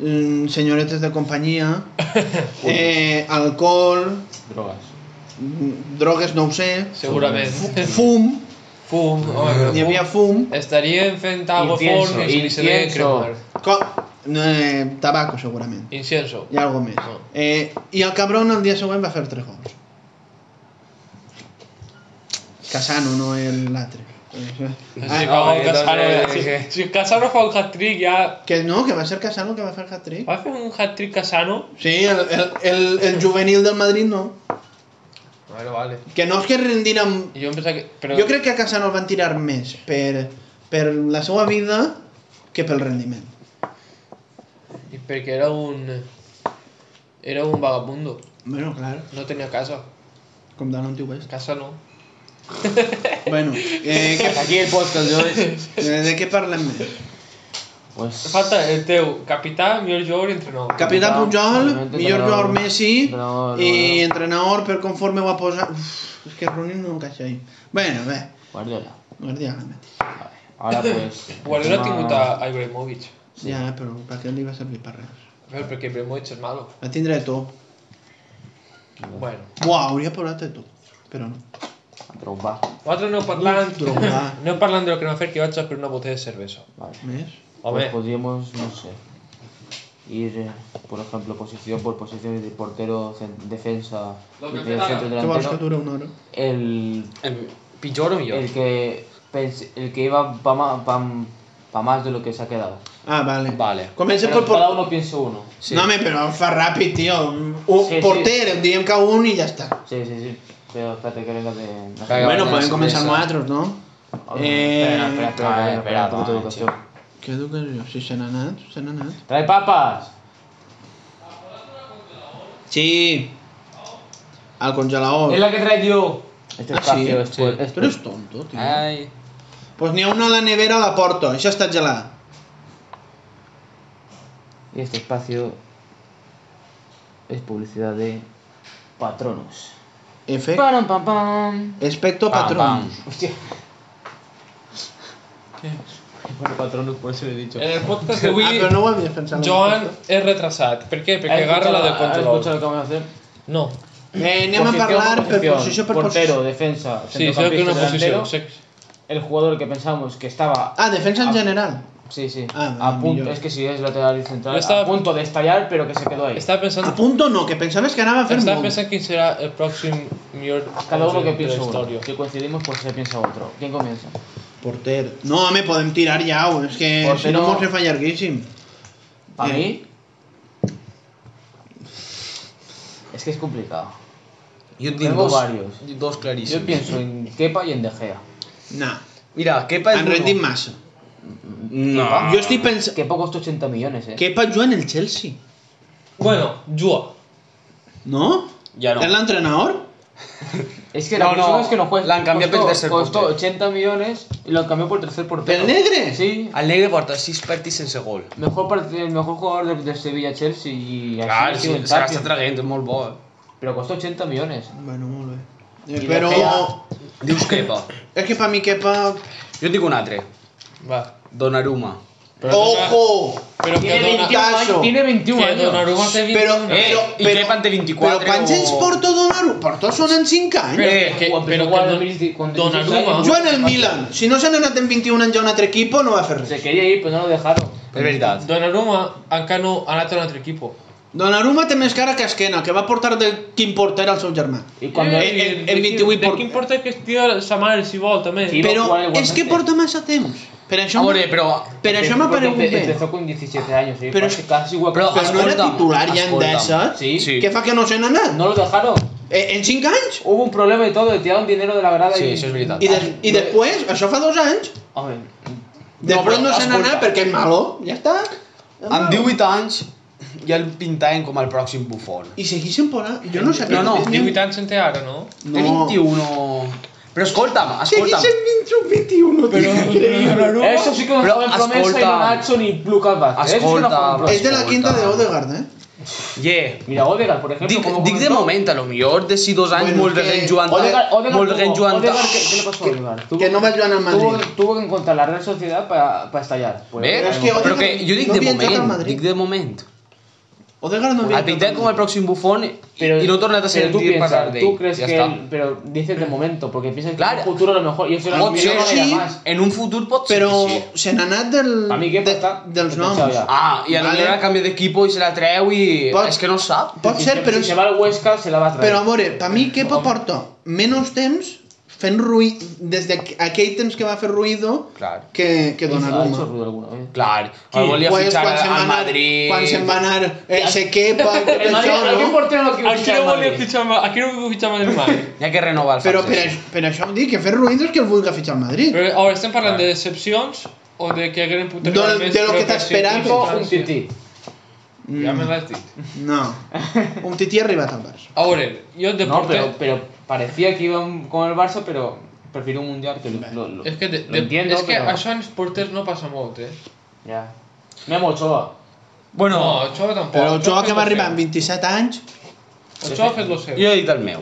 Speaker 1: mm, senyoretes de companyia eh, alcohol
Speaker 3: Drogas.
Speaker 1: mm, drogues no ho sé
Speaker 2: Segurament.
Speaker 1: fum
Speaker 2: Fum, home, però
Speaker 1: Hi havia
Speaker 2: fum.
Speaker 1: fum,
Speaker 2: Estarien fent algo
Speaker 3: Incienso,
Speaker 2: fort i se deien
Speaker 3: incienso.
Speaker 2: cremar.
Speaker 1: co no, eh, tabaco segurament,
Speaker 2: Incienso.
Speaker 1: i algo més.
Speaker 2: Ah.
Speaker 1: Eh, I el cabron el dia següent va fer tres gols. Casano, no el l'altre.
Speaker 2: Si
Speaker 1: Ah,
Speaker 2: fa un
Speaker 4: eh,
Speaker 2: Casano,
Speaker 4: doncs,
Speaker 2: si,
Speaker 4: eh,
Speaker 2: si Casano fa un hat-trick ja...
Speaker 1: que no, que va ser Casano que va fer hat-trick.
Speaker 2: Va fer un hat-trick Casano?
Speaker 1: Sí, el, el, el, el juvenil del Madrid no.
Speaker 2: Bueno, vale.
Speaker 1: Que no és que rendir amb...
Speaker 2: Jo em pensava que... Però...
Speaker 1: Jo crec que a Casano el van tirar més per, per la seva vida que pel rendiment.
Speaker 2: I perquè era un... Era un vagabundo.
Speaker 1: Bueno, clar,
Speaker 2: No tenia casa.
Speaker 1: com d'un tio West.
Speaker 2: Casa no.
Speaker 1: Bueno, eh, que,
Speaker 3: Aquí el podcast de hoy.
Speaker 1: eh, de què parlem més?
Speaker 3: Pues.
Speaker 2: Falta eh, el teu capità, millor jugador i entrenador.
Speaker 1: Capità
Speaker 3: Capità,
Speaker 1: Pujol,
Speaker 3: entrenador,
Speaker 1: millor jugador Messi
Speaker 3: entrenador,
Speaker 1: i
Speaker 3: entrenador.
Speaker 1: entrenador per conforme ho ha posat... Uf, és que Rooney no encaixa ahí. Bueno, bé,
Speaker 3: Guardiola.
Speaker 1: Guardiola mateix.
Speaker 3: Ahora pues.
Speaker 2: Guardiola ha
Speaker 3: encima-
Speaker 2: tingut a a Ibrahimovic.
Speaker 1: Sí. Ja, però per què li va servir per res?
Speaker 2: A veure, perquè Ibrahimovic és malo.
Speaker 1: Va tindre de tot.
Speaker 2: Bueno.
Speaker 1: Uau, hauria posat de tot, però no.
Speaker 3: a Drogba.
Speaker 2: Nosaltres aneu parlant...
Speaker 1: Drogar.
Speaker 2: Aneu parlant del que no ha fet que vaig a per una botella de cervesa.
Speaker 3: Vale.
Speaker 1: Més?
Speaker 2: Home,
Speaker 3: Pues podríamos, no sé, ir, eh, por ejemplo, posición por posición de portero, cen- defensa,
Speaker 2: Lo que
Speaker 3: del
Speaker 2: pega.
Speaker 3: centro
Speaker 1: Què vols que
Speaker 3: delantero.
Speaker 1: dura una hora?
Speaker 3: El,
Speaker 4: El pitjor Em, o millor?
Speaker 3: el, que, pens- el que iba para más de lo que se ha quedado.
Speaker 1: Ah, vale.
Speaker 4: Vale.
Speaker 1: Comencem
Speaker 3: Pero
Speaker 1: pel
Speaker 3: cada
Speaker 1: porter.
Speaker 3: uno piensa uno.
Speaker 1: Sí. No, home, però fa ràpid, tio. Un
Speaker 3: Sí, sí.
Speaker 1: porter, em diem que un i ja està.
Speaker 3: Sí, sí, sí. Pero espérate que venga de.
Speaker 2: Venga,
Speaker 1: bueno,
Speaker 2: vale,
Speaker 1: pueden
Speaker 2: sí,
Speaker 1: comenzar
Speaker 2: esa.
Speaker 1: nosaltres, no? Eh,
Speaker 3: Espera, espera,
Speaker 4: Ah,
Speaker 3: espera,
Speaker 4: espera,
Speaker 3: espera, un poquito de
Speaker 4: va,
Speaker 3: educación.
Speaker 1: Què duc jo? Si se n'ha anat, se n'ha anat.
Speaker 3: ¡Trae papas!
Speaker 1: Sí. Al congelador.
Speaker 3: Es la que trae yo. Este
Speaker 1: Ah, sí?
Speaker 3: espacio
Speaker 1: Sí.
Speaker 3: es, pu- es
Speaker 1: Tu eres tonto, tio. Doncs
Speaker 3: Ah.
Speaker 4: Ai,
Speaker 1: pues n'hi ha una a la nevera a la porta, això està gelat.
Speaker 3: Y este espacio es publicidad de patronos.
Speaker 1: Efe,
Speaker 3: Param, pam, pam.
Speaker 1: Especto Patrons.
Speaker 3: Hostia. Bueno, patronos, por eso lo he dicho.
Speaker 2: En el podcast
Speaker 1: Ah,
Speaker 2: d'avui,
Speaker 1: però no ho havies pensat.
Speaker 2: Joan és retrasat. Per què? Perquè agarra la del
Speaker 3: escuchado
Speaker 2: congelador.
Speaker 3: lo que vamos a hacer?
Speaker 2: No,
Speaker 1: Eh, anem a parlar per posició per
Speaker 3: Portero,
Speaker 1: posició.
Speaker 3: defensa,
Speaker 2: sí, sé que una
Speaker 3: centrocampista,
Speaker 2: posició.
Speaker 3: delantero.
Speaker 2: Sé...
Speaker 3: El jugador que pensamos que estaba...
Speaker 1: Ah, defensa en general.
Speaker 3: Sí, sí.
Speaker 1: Ah,
Speaker 3: a punto,
Speaker 1: millor.
Speaker 3: es que si es lateral y central,
Speaker 2: Yo estaba-
Speaker 3: a punto de estallar, pero que se quedó
Speaker 4: Este
Speaker 3: ahí.
Speaker 2: Estava pensant,
Speaker 1: A punto no, que pensaves que anava a fer
Speaker 2: estava
Speaker 1: molt.
Speaker 2: pensant quin serà el pròxim millor
Speaker 3: Cada uno
Speaker 2: de
Speaker 3: que
Speaker 2: la
Speaker 3: piensa
Speaker 2: història.
Speaker 3: uno. Si coincidimos, pues se piensa otro. ¿Quién comienza?
Speaker 1: Porter. No, home, podem tirar ja, o és que si
Speaker 3: Portero.
Speaker 1: no mos se fa llarguíssim. Eh.
Speaker 3: Para mí... Es que es complicado.
Speaker 4: Jo et dic
Speaker 3: Tengo
Speaker 4: dos,
Speaker 3: varios.
Speaker 4: dos claríssims.
Speaker 3: Yo pienso en Kepa y en De Gea.
Speaker 1: No,
Speaker 4: Mira, Kepa és
Speaker 1: han rendit massa.
Speaker 4: No.
Speaker 3: Ah.
Speaker 1: Jo estic pensant...
Speaker 3: Que poco estos 80 millones, eh.
Speaker 1: Kepa juga en el Chelsea,
Speaker 2: Bueno, Joa.
Speaker 1: no?
Speaker 4: Ja no.
Speaker 1: És l'entrenador?
Speaker 3: Es que la
Speaker 4: No,
Speaker 3: cuestión
Speaker 4: no,
Speaker 3: es que no juegas.
Speaker 4: la han cambiado por el tercer
Speaker 3: Costó
Speaker 4: portero.
Speaker 3: 80 millones y lo han cambiado por tercer portero.
Speaker 1: ¿Pel negre?
Speaker 3: Sí.
Speaker 4: El negre porta 6 partits sense gol.
Speaker 3: Mejor, part- el mejor jugador del de Sevilla, Chelsea y así
Speaker 4: Clar,
Speaker 3: ha
Speaker 4: sí,
Speaker 3: sido el
Speaker 4: se l'està
Speaker 3: Tapia.
Speaker 4: traguent, és molt bo. eh.
Speaker 3: Pero costó 80 millones.
Speaker 1: Bueno, molt bé. Eh,
Speaker 3: I
Speaker 1: Però...
Speaker 3: De Gea?
Speaker 4: Dius Kepa.
Speaker 1: És que per mi Kepa...
Speaker 4: Jo et dic un altre.
Speaker 2: Va.
Speaker 4: Donnarumma.
Speaker 2: Però
Speaker 1: Ojo!
Speaker 2: Però que
Speaker 3: Tiene
Speaker 2: dona...
Speaker 3: 21 años.
Speaker 1: Tazo.
Speaker 3: Tiene 21
Speaker 2: Que
Speaker 3: años.
Speaker 2: Donnarumma té 20
Speaker 1: Però,
Speaker 4: Eh,
Speaker 1: però,
Speaker 4: i Kepa en té 24
Speaker 1: Però quants
Speaker 4: o-
Speaker 1: anys porta Donnarumma? Porta són en 5 anys.
Speaker 4: Eh,
Speaker 2: que,
Speaker 3: Juan,
Speaker 2: però
Speaker 3: igual
Speaker 2: que
Speaker 3: en el Milan-
Speaker 2: Don-
Speaker 3: con
Speaker 2: Donnarumma...
Speaker 3: 16
Speaker 1: Jo en el Milan. Si no s'han anat en 21 anys a un altre equip, no va fer res.
Speaker 3: Se quería ir, pero no lo dejaron.
Speaker 4: És veritat.
Speaker 2: Donnarumma encara no ha anat a un altre equip.
Speaker 1: Donnarumma té més cara que Esquena, que va portar de Quim Porter al seu germà.
Speaker 3: Y cuando
Speaker 1: Eh, eh, en 28
Speaker 2: de
Speaker 1: por-
Speaker 2: quin porter que este estigui sa mare, si vol, també.
Speaker 3: Sí,
Speaker 1: Però
Speaker 3: jugar igualment.
Speaker 1: és que porta massa temps. Per
Speaker 4: A
Speaker 1: això,
Speaker 4: veure, eh, però... este
Speaker 1: per això m'ha
Speaker 3: Porque
Speaker 1: paregut
Speaker 3: empe-
Speaker 1: bé.
Speaker 3: Empezó con 17 años, eh,
Speaker 1: Pero
Speaker 3: casi- casi igual que-
Speaker 4: pero-
Speaker 1: Però no era
Speaker 4: Escolta'm,
Speaker 1: titular ja en
Speaker 4: escolta'm.
Speaker 1: 10, saps?
Speaker 3: Sí.
Speaker 4: Sí.
Speaker 1: Què fa que no se n'ha anat?
Speaker 3: No lo dejaron.
Speaker 1: Eh, En 5 anys?
Speaker 3: Hubo un problema y todo, le tiraron dinero de la grada
Speaker 4: Sí,
Speaker 3: y...
Speaker 4: això és veritat.
Speaker 1: I, de, i després, això fa dos anys,
Speaker 3: Hombre,
Speaker 1: després
Speaker 4: però,
Speaker 1: no, se n'ha
Speaker 4: escolta.
Speaker 1: anat perquè és malo, ja està.
Speaker 4: Amb 18 anys ja el pintaven com el pròxim bufón.
Speaker 1: I segueixen por ahí. Jo no sabia.
Speaker 4: No, no,
Speaker 1: que tenien-
Speaker 2: 18 anys en té ara, no?
Speaker 4: No. Té 21... Però escolta'm, escolta'm.
Speaker 1: Segueixen 21, 21, tio, increïble.
Speaker 3: Eso sí que nos
Speaker 4: Pero,
Speaker 3: joven promesa y
Speaker 4: escolta.
Speaker 3: no Nacho ni Lucas Vázquez. Eso sí que no
Speaker 4: Escolta.
Speaker 3: joven promesa.
Speaker 1: És de la
Speaker 4: Escolta.
Speaker 1: quinta de Odegaard, eh?
Speaker 4: Yeah.
Speaker 3: Mira, Odegaard, por ejemplo.
Speaker 4: Dic,
Speaker 3: como
Speaker 4: dic de
Speaker 3: comentó-
Speaker 4: moment, a lo millor, de si dos anys
Speaker 1: Bueno,
Speaker 4: molt de
Speaker 1: que-
Speaker 4: gent jugant...
Speaker 3: Odegaard, Odegaard
Speaker 4: Molt de gent
Speaker 3: tuvo-
Speaker 4: jugant...
Speaker 3: Odegaard, ¿qué, qué le pasó a Odegaard? Tuvo-
Speaker 1: Que no va jugar al
Speaker 3: tuvo,
Speaker 1: Madrid.
Speaker 3: tuvo que encontrar la Real Sociedad para estallar. Pues,
Speaker 4: Bé,
Speaker 1: Però és que Odegaard
Speaker 4: però que jo dic
Speaker 1: no
Speaker 4: de
Speaker 1: havia entrat al
Speaker 4: moment,
Speaker 1: Madrid.
Speaker 4: dic de moment.
Speaker 1: Odegaard no havia
Speaker 4: El pintat com el pròxim bufón i, i no he tornat a
Speaker 3: pero tú
Speaker 4: sentir
Speaker 3: piensas,
Speaker 4: parlar d'ell.
Speaker 3: Tú crees
Speaker 4: ja
Speaker 3: que
Speaker 4: està.
Speaker 3: él, pero dices de momento, porque piensas que en
Speaker 4: Claro.
Speaker 3: el futuro a lo mejor. Y eso era lo
Speaker 4: Pot
Speaker 1: potser
Speaker 4: ser
Speaker 3: mejor no era
Speaker 1: sí.
Speaker 3: más.
Speaker 4: En un futur pot ser
Speaker 1: Però
Speaker 4: que sí.
Speaker 1: se n'ha anat del,
Speaker 3: A mi què passa?
Speaker 1: dels
Speaker 3: He
Speaker 1: noms.
Speaker 3: pensat ja.
Speaker 4: Ah, i a
Speaker 1: Vale.
Speaker 4: vale. l'hora canvia d'equipo i se la treu i...
Speaker 1: Pot-
Speaker 4: És que no sap.
Speaker 1: Pot
Speaker 3: Si
Speaker 1: ser,
Speaker 3: se-
Speaker 1: però,
Speaker 3: Si se va al Huesca, se la va a traer.
Speaker 1: però a veure, per mi Kepa porta menys temps fent ruïdo, des d'aquell temps que va fer ruïdo,
Speaker 4: Clar.
Speaker 1: que, que
Speaker 3: Ha hecho
Speaker 1: Donnarumma.
Speaker 3: ruido ¿eh? alguna vez.
Speaker 4: Clar, el volia
Speaker 1: Pues,
Speaker 4: fitxar
Speaker 1: quan se'n va
Speaker 4: al
Speaker 1: anar-
Speaker 4: Madrid...
Speaker 1: Quan se'n va anar, eh, se quepa, i tot
Speaker 3: El Madrid,
Speaker 1: això,
Speaker 3: ¿a qué
Speaker 1: no?
Speaker 3: portero lo que
Speaker 2: Aquí
Speaker 3: ficha el
Speaker 2: no volia
Speaker 3: Madrid?
Speaker 2: fitxar amb... Aquí no volia fitxar amb el Madrid.
Speaker 4: Hi ha que renovar el
Speaker 1: Però per,
Speaker 4: francès.
Speaker 1: aix- per això em dic que fer ruïdo és que el vulgui fitxar al Madrid.
Speaker 2: Però, a veure, estem parlant de decepcions o de que hagueren pogut
Speaker 1: No, de lo que t'esperaves.
Speaker 3: Tipo un tití.
Speaker 1: Mm,
Speaker 2: Ja me l'has dit.
Speaker 1: No. Un tití ha arribat al Barça.
Speaker 2: A veure, jo de
Speaker 3: No,
Speaker 2: porter...
Speaker 3: pero, pero parecía que iban con el Barça, pero prefiero un mundial que lo, lo, lo-
Speaker 2: És que, de,
Speaker 3: lo
Speaker 2: de,
Speaker 3: entiendo,
Speaker 2: és que
Speaker 3: pero-
Speaker 2: això en els porters no passa molt, eh?
Speaker 3: Ya. Memo Ochoa.
Speaker 2: Bueno, no, això tampoc.
Speaker 1: Però el
Speaker 2: Ochoa
Speaker 1: Joa
Speaker 2: ha
Speaker 1: que
Speaker 2: fet
Speaker 1: va
Speaker 2: lo
Speaker 1: arribar
Speaker 2: seu.
Speaker 1: amb 27 anys...
Speaker 2: Ochoa ha fet lo seu.
Speaker 4: Jo he dit el meu.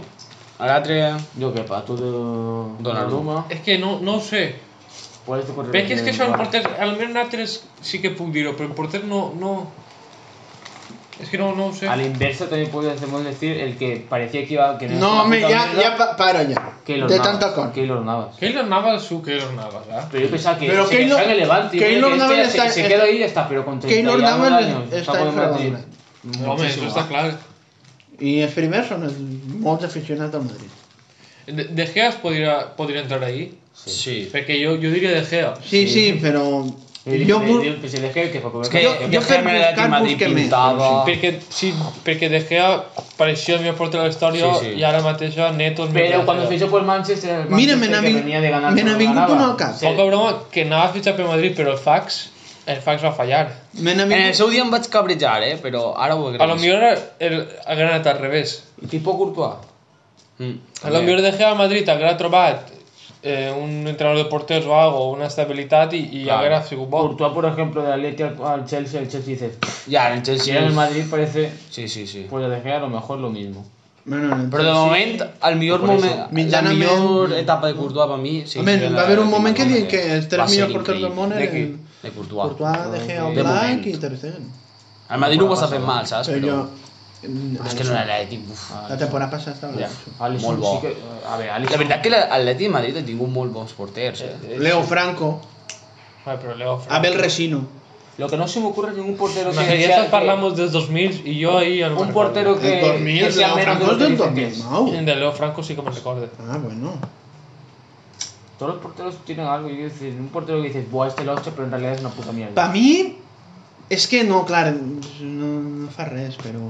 Speaker 4: A l'altre...
Speaker 3: Yo que para tú de
Speaker 4: Donnarumma.
Speaker 2: És que no, no ho sé.
Speaker 3: ¿Cuál es tu correo?
Speaker 2: Perquè és que això en porter, almenys nosaltres sí que puc dir-ho, però en porter no, no... És que no, no ho sé.
Speaker 3: A la inversa también podemos decir el que parecía que iba que era
Speaker 1: No,
Speaker 3: una
Speaker 1: home,
Speaker 3: puta
Speaker 1: ja,
Speaker 3: mierda,
Speaker 1: ja pa- para ja.
Speaker 3: Keylor
Speaker 1: De
Speaker 3: Navas,
Speaker 1: tanta cosa.
Speaker 3: Keylor Navas.
Speaker 2: Keylor Navas, su Keylor Navas, ¿ah? ¿verdad?
Speaker 3: Pero yo pensaba que
Speaker 1: Pero
Speaker 3: se
Speaker 1: Keylor-
Speaker 3: quedaba en el Levante, yo
Speaker 1: Keylor
Speaker 3: pensaba que
Speaker 1: Navas
Speaker 3: este ya se-
Speaker 1: está-
Speaker 3: se queda ahí y ya está, pero con 30
Speaker 1: Keylor
Speaker 3: y algo de
Speaker 1: Navas
Speaker 3: años,
Speaker 1: está
Speaker 3: con
Speaker 1: en
Speaker 3: Madrid.
Speaker 1: Fradona.
Speaker 2: No, home, això
Speaker 3: Muchísimo.
Speaker 2: està clar.
Speaker 1: I els primers són els molts aficionats al Madrid.
Speaker 2: De, de Gea es podria, podria entrar ahí,
Speaker 4: Sí.
Speaker 2: perquè jo, jo diria De Gea.
Speaker 1: Sí, sí, però Jo
Speaker 3: Jo
Speaker 1: vull-
Speaker 3: vull... Si dejeu, què fa?
Speaker 4: És que jo,
Speaker 1: Jo-
Speaker 4: jo
Speaker 1: jo per
Speaker 4: per buscar
Speaker 1: buscar
Speaker 4: Madrid
Speaker 1: busquem més.
Speaker 4: pintava...
Speaker 2: Perquè, sí, perquè De Gea apareixia al meu porter de la història
Speaker 4: Sí, sí.
Speaker 2: i ara mateix Neto... és millor
Speaker 3: Però
Speaker 2: que
Speaker 3: quan
Speaker 2: De Gea.
Speaker 3: fitxó pel Manchester, el
Speaker 1: Mira,
Speaker 3: Manchester
Speaker 1: me n'ha
Speaker 3: que
Speaker 1: vin-
Speaker 3: venia de ganar...
Speaker 1: me n'ha
Speaker 3: no
Speaker 1: vingut
Speaker 3: ganava.
Speaker 1: un al cap.
Speaker 3: Sí.
Speaker 2: Poca broma, que anava a fitxar per Madrid, però el fax, el fax va fallar.
Speaker 1: Me n'ha
Speaker 4: En Eh, el
Speaker 1: vingut...
Speaker 4: seu dia em vaig cabrejar, eh? Però ara ho
Speaker 2: A lo
Speaker 4: agraeixo.
Speaker 2: millor el, ha anat al revés.
Speaker 4: Tipo Courtois. Mm.
Speaker 2: A lo millor De Gea a Madrid haguera trobat eh, un entrenador de porters o algo, una estabilitat i, i
Speaker 4: Clar.
Speaker 2: haguera sigut bo.
Speaker 3: Courtois, por ejemplo, del Atleti al, al Chelsea, el Chelsea dice,
Speaker 4: Ja, en el
Speaker 3: si
Speaker 4: Chelsea...
Speaker 3: era en el
Speaker 4: és-
Speaker 3: Madrid parece,
Speaker 4: Sí, sí, sí.
Speaker 3: pues de Gea a lo mejor lo mismo.
Speaker 1: Bueno, no,
Speaker 4: Però de moment, el millor
Speaker 3: Por eso.
Speaker 4: moment, la
Speaker 1: Mitjanament-
Speaker 4: millor etapa de Courtois per mi... Sí,
Speaker 1: Home,
Speaker 4: sí,
Speaker 1: va
Speaker 4: la-
Speaker 1: haver un
Speaker 4: la-
Speaker 1: moment que
Speaker 4: la-
Speaker 1: diuen que els tres
Speaker 4: va ser
Speaker 1: millors porters del
Speaker 4: increïble.
Speaker 1: món
Speaker 4: De
Speaker 1: eren-
Speaker 4: qui? De Courtois.
Speaker 1: Courtois, De Gea,
Speaker 4: De
Speaker 1: Black
Speaker 4: moment.
Speaker 1: i Ter Stegen.
Speaker 4: El Madrid no ho està fent mal, saps?
Speaker 1: Però
Speaker 4: Però...
Speaker 1: jo...
Speaker 4: És que no era l'Atlètic, uf.
Speaker 1: La temporada passada estava...
Speaker 3: Ya.
Speaker 1: bé.
Speaker 3: Alisson
Speaker 4: Molt bo.
Speaker 3: Ah, sí que... A ver, Alisson...
Speaker 4: La veritat que l'Atlètic de Madrid ha tingut molt bons porters, eh?
Speaker 1: Leo Franco,
Speaker 2: Ah, però Leo, Fran.
Speaker 1: Abel Resino.
Speaker 3: Lo que no se me ocurre es ningún portero que...
Speaker 2: Imagina, ja
Speaker 3: sea-
Speaker 2: estàs
Speaker 3: que-
Speaker 2: parlant dels 2000 i jo ahir... Ja no me'n
Speaker 3: Un portero Oh.
Speaker 2: recordo.
Speaker 3: que,
Speaker 1: El 2000,
Speaker 3: que sea
Speaker 1: Leo
Speaker 3: menos de
Speaker 1: Franco
Speaker 3: lo
Speaker 1: és
Speaker 3: que
Speaker 1: del
Speaker 3: dicen que es.
Speaker 1: 2009.
Speaker 2: De Leo Franco sí que me'n
Speaker 3: Eh,
Speaker 2: recordo.
Speaker 1: Ah, bueno.
Speaker 3: Todos los porteros tienen algo. Yo quiero decir, un portero que dices, buah, este lo ha hecho, pero en realidad es una puta mierda.
Speaker 1: Per mi, és que no, clar, no, no fa res, però